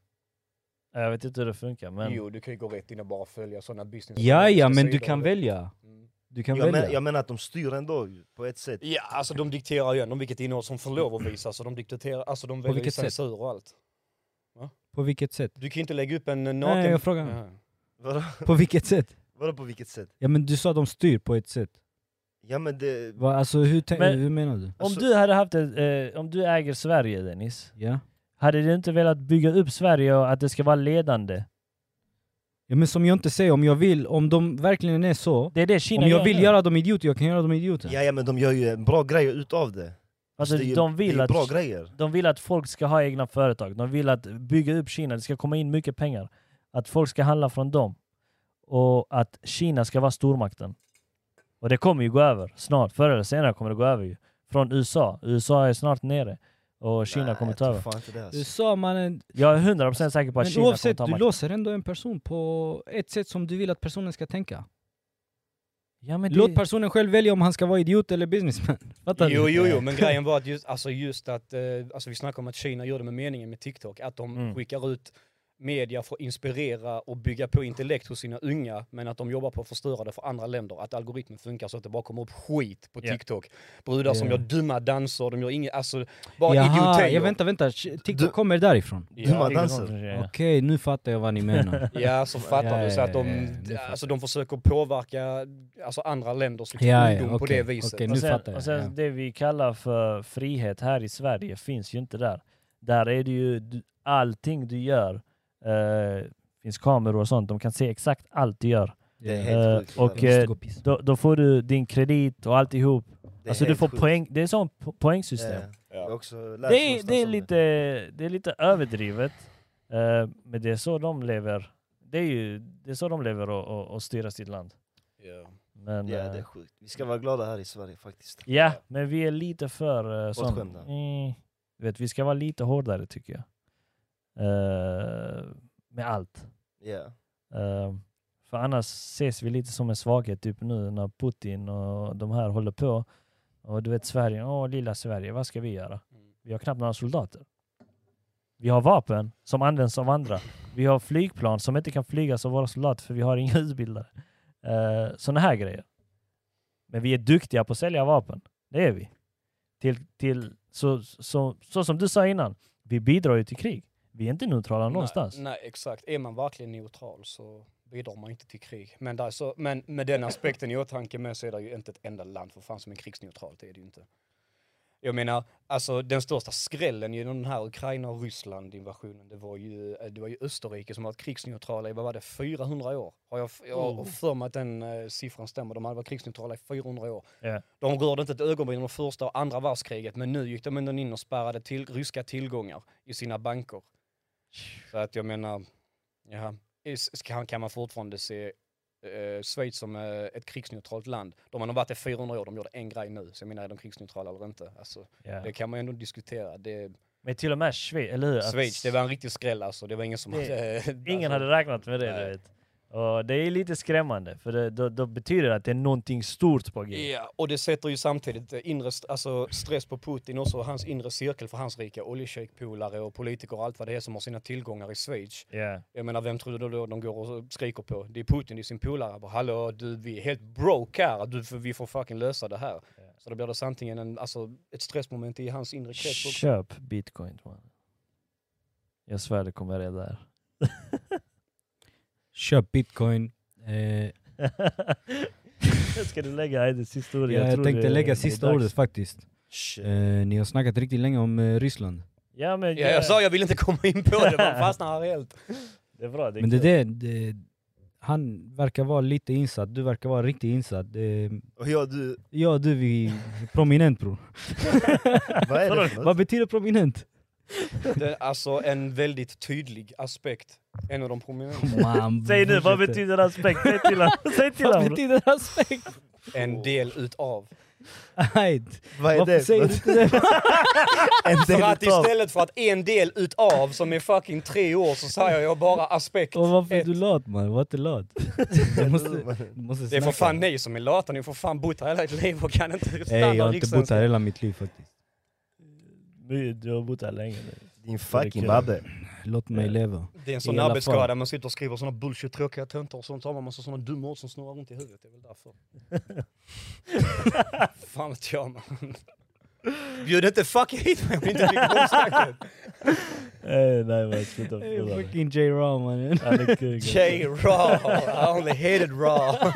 C: Jag vet inte hur det funkar men...
B: Jo, du kan ju gå rätt in och bara följa sådana business.
A: Ja ja men du
B: sidor.
A: kan välja.
B: Mm.
A: Du kan
D: Jag, men,
A: välja.
D: jag menar att de styr ändå ju, på ett sätt.
B: Ja, alltså de dikterar ju ändå vilket innehåll som får lov att visas och de dikterar, alltså de väljer ju
A: vilket sätt?
B: censur och allt.
A: På vilket sätt?
B: Du kan ju inte lägga upp en eh, naken...
A: Nej jag frågar.
B: Ja.
D: Vadå,
A: På vilket sätt?
D: vadå på vilket sätt?
A: Ja men du sa att de styr på ett sätt.
D: Ja men det...
A: Va, alltså, hur, tänk-
C: Men-
A: hur menar du?
C: Om
D: Alltså-
C: du hade haft ett, eh, om du äger Sverige Dennis,
A: Ja.
C: hade du inte velat bygga upp Sverige och att det ska vara ledande?
A: ja men som jag inte säger, om jag vill, om de verkligen är så,
C: Det är det Kina
A: om jag
C: gör
A: vill
C: nu.
A: göra dem idioter, jag kan göra dem idioter.
D: Ja, ja men de gör ju en bra grej utav det.
C: alltså,
D: det är ju,
C: de, vill
D: det är
C: att,
D: bra grejer.
C: de vill att folk ska ha egna företag, de vill att bygga upp Kina, det ska komma in mycket pengar. Att folk ska handla från dem. Och att Kina ska vara stormakten. Och det kommer ju gå över snart, förr eller senare kommer det gå över ju. Från USA, USA är snart nere. Och Kina
D: Nej,
C: kommer
D: jag
C: ta
D: tror
C: över.
D: fan inte det, alltså.
A: USA mannen,
C: Jag är 100% säker på att
A: men
C: Kina kommer
A: oavsett,
C: ta
A: du
C: makten.
A: låser ändå en person på ett sätt som du vill att personen ska tänka.
C: Ja, men
A: Låt
C: det...
A: personen själv välja om han ska vara idiot eller businessman. Fattar
B: Jo,
A: du?
B: jo, jo, men grejen var att just, alltså just att, eh, alltså vi snackade om att Kina gör det med meningen med TikTok, att de
C: Mm.
B: skickar ut media för att inspirera och bygga på intellekt hos sina unga, men att de jobbar på att förstöra det för andra länder. Att algoritmen funkar så att det bara kommer upp skit på
C: Ja.
B: TikTok. Brudar som
A: Ja.
B: gör dumma danser, de gör inget, alltså bara
A: Jaha,
B: idioter.
A: jag vänta, vänta. TikTok
D: Du-
A: kommer därifrån.
D: Dumma danser.
A: Okej, nu fattar jag vad ni menar.
B: Ja, så fattar
A: Ja,
B: du. Så att
A: ja, ja,
B: de,
A: nu fattar
B: alltså, de försöker påverka alltså, andra länders liksom,
A: Ja, ja,
B: ungdom på
A: okej,
B: det viset.
A: okej, nu
C: Och sen,
A: fattar jag.
C: och sen
A: ja.
C: det vi kallar för frihet här i Sverige finns ju inte där. Där är det ju du- allting du gör. Eh, finns kameror och sånt. De kan se exakt allt du gör.
D: Det är
A: Ja.
D: helt
C: Eh,
D: sjukt.
C: och,
A: Jag måste
C: eh,
A: gå och pissa.
C: Då, då får du din kredit och alltihop.
D: Det är
C: Alltså du
D: helt
C: får
D: sjukt. Eh.
C: poäng. Det är sånt po- poängssystem.
D: Ja. Jag har också läst
C: Det är,
D: någonstans
C: det, är
D: om
C: lite, det är lite överdrivet. Eh, men det är så de lever. Det är ju det är så de lever och, och, och styr sitt land.
B: Ja.
C: Men,
D: Ja,
C: eh,
D: det är sjukt. Vi ska vara glada här i Sverige faktiskt.
C: Ja, men vi är lite för uh, sån...
D: Bortskämda.
C: Mm, du vet, vi ska vara lite hårdare tycker jag. Eh, med allt.
D: Ja.
C: Eh, för annars ses vi lite som en svaghet, typ nu när Putin och de här håller på. Och du vet Sverige, åh lilla Sverige, vad ska vi göra?
B: Mm.
C: Vi har knappt några soldater. Vi har vapen som används av andra. Vi har flygplan som inte kan flygas av våra soldater för vi har inga utbildare. Uh, Sådana här grejer. Men vi är duktiga på att sälja vapen. Det är vi. Till, till, så, så, så som du sa innan, vi bidrar ju till krig. Vi är inte neutrala någonstans.
B: Nej, nej, exakt. Är man verkligen neutral så bidrar man inte till krig. Men, där, så, men med den aspekten i åtanke med så är det ju inte ett enda land för fan som är krigsneutralt, det är det ju inte. Jag menar, alltså den största skrällen genom den här Ukraina och Ryssland invasionen, det var ju, eh, det var ju Österrike som har varit krigsneutrala i, vad var det, 400 år? Har jag, jag
C: Oh.
B: har för mig att den eh, siffran stämmer, de hade varit krigsneutrala i 400 år.
C: Ja.
B: De rörde inte ett ögonbryn under första och andra världskriget, men nu gick de ändå in och spärrade till ryska tillgångar i sina banker. Så att jag menar, ja, is- kan, kan man fortfarande se eh, Schweiz som eh, ett krigsneutralt land? De har nog varit det 400 år, de gjorde en grej nu. Så jag menar, är de krigsneutrala eller inte? Alltså,
C: Ja.
B: Det kan man ju ändå diskutera. Det,
C: Men till och med Schweiz, eller hur? Att
B: Schweiz, det var en riktig skräll alltså. Det var ingen som
C: Det-
B: hade...
C: Ingen
B: alltså,
C: hade räknat med det, du
B: Nej.
C: vet. Och det är lite skrämmande, för det, då, då betyder det att det är någonting stort på gång.
B: Ja, och det sätter ju samtidigt eh, inre st- alltså stress på Putin också, och hans inre cirkel för hans rika oljeshejkpolare och politiker och allt vad det är som har sina tillgångar i Schweiz.
C: Ja.
B: Jag menar, vem tror du då de går och skriker på? Det är Putin, det är sin polare. Jag bara, Hallå, du, vi är helt broke här. Du, för vi får fucking lösa det här. Så då blir det antingen en, alltså, ett stressmoment i hans inre krets också.
C: Köp bitcoin, man. Jag svär det kommer redan där.
A: Köp bitcoin. Eh,
C: Ska du lägga Aydins historia?
A: Ja, jag
C: tror
A: tänkte
C: det- det är
A: lägga sista
C: dags.
A: ordet faktiskt.
D: Shit.
A: Eh, ni har snackat riktigt länge om eh, Ryssland.
C: Ja, men,
B: Ja, jag sa jag vill inte komma in på det, man fastnar här helt.
C: Det är bra. Det är
A: Men det
C: kul.
A: är det, det, han verkar vara lite insatt, du verkar vara riktigt insatt. Eh,
D: Och jag du,
A: ja du, vi prominent bror.
D: vad är det för något?
A: Vad betyder prominent?
B: Det är alltså en väldigt tydlig aspekt. En av de prominenta.
A: Man,
C: Säg nu, vad
A: fortsätter.
C: betyder aspekt? Säg till honom. Säg till
A: Vad
C: honom.
A: betyder aspekt?
B: En del utav.
A: Nej,
D: Vad är
A: varför
D: det?
A: säger du inte det?
D: En
B: För
D: del
B: att
D: utav-
B: istället för att en del utav som är fucking tre år så säger jag bara aspekt.
A: Och varför är
B: ett.
A: du lat man? Var inte lat. Du måste, du måste
B: Det är för
A: snacka.
B: fan ni som är lata, ni får fan bott här hela ert liv och kan inte
A: Nej, jag
B: standard
A: har inte bott här hela mitt liv faktiskt.
C: Du, du har bott här länge nu.
D: Din fucking babbe.
A: Låt
B: Eh.
A: mig leva.
B: Det är en
A: I
B: sån
A: alla
B: arbetsskada,
A: fall.
B: man sitter och skriver såna bullshit, tråkiga töntar och sånt, så har man massa såna dumma ord som snurrar runt i huvudet, det är väl därför. Fan vet jag man. Bjud inte fucking hit mig om ni inte tycker om snacket!
C: Eh, nej, men sluta
A: Hey,
C: förlora.
A: fucking J-Raw mannen.
C: Han är kung.
B: J Raw, I only hated Raw.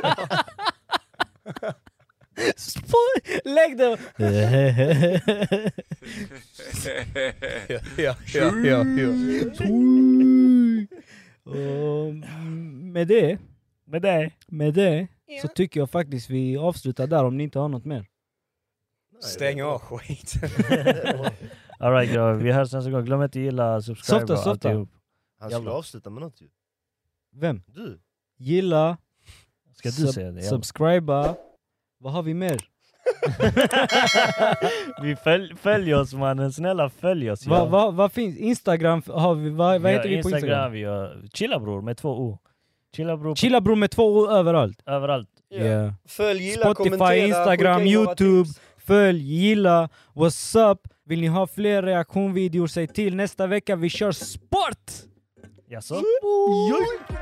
A: Spoil- Lägg den!
B: Ja, ja, ja, ja, ja.
A: Och med det,
C: Med dig.
A: med det så tycker jag faktiskt vi avslutar där om ni inte har något mer.
B: Stäng av skit.
C: Alright grabbar, vi hörs nästa gång. Glöm inte att gilla, subscribe
A: Softa,
C: och
A: softa.
C: alltihop.
D: Han skulle
C: Jävlar.
D: avsluta med något ju.
A: Vem?
D: Du.
A: Gilla,
C: Ska du
A: sub-
C: säga det? Jävlar.
A: subscriba. Vad har vi mer?
C: vi följ, följ oss mannen, snälla följ oss.
A: Vad
C: ja.
A: va, vad finns? Instagram har vi? Va, vad
C: Vi
A: heter
C: har
A: vi på Instagram?
C: Vi gör chilla bror med två o. Chilla bror
A: Chilla bror med två O överallt.
C: överallt.
A: Yeah.
B: Följ, gilla,
A: Spotify,
B: kommentera,
A: Instagram,
B: skicka in våra
A: YouTube.
B: tips.
A: Följ, gilla, what's up? Vill ni ha fler reaktionvideor? Säg till. Nästa vecka vi kör sport!
C: Jaså?
A: Joj!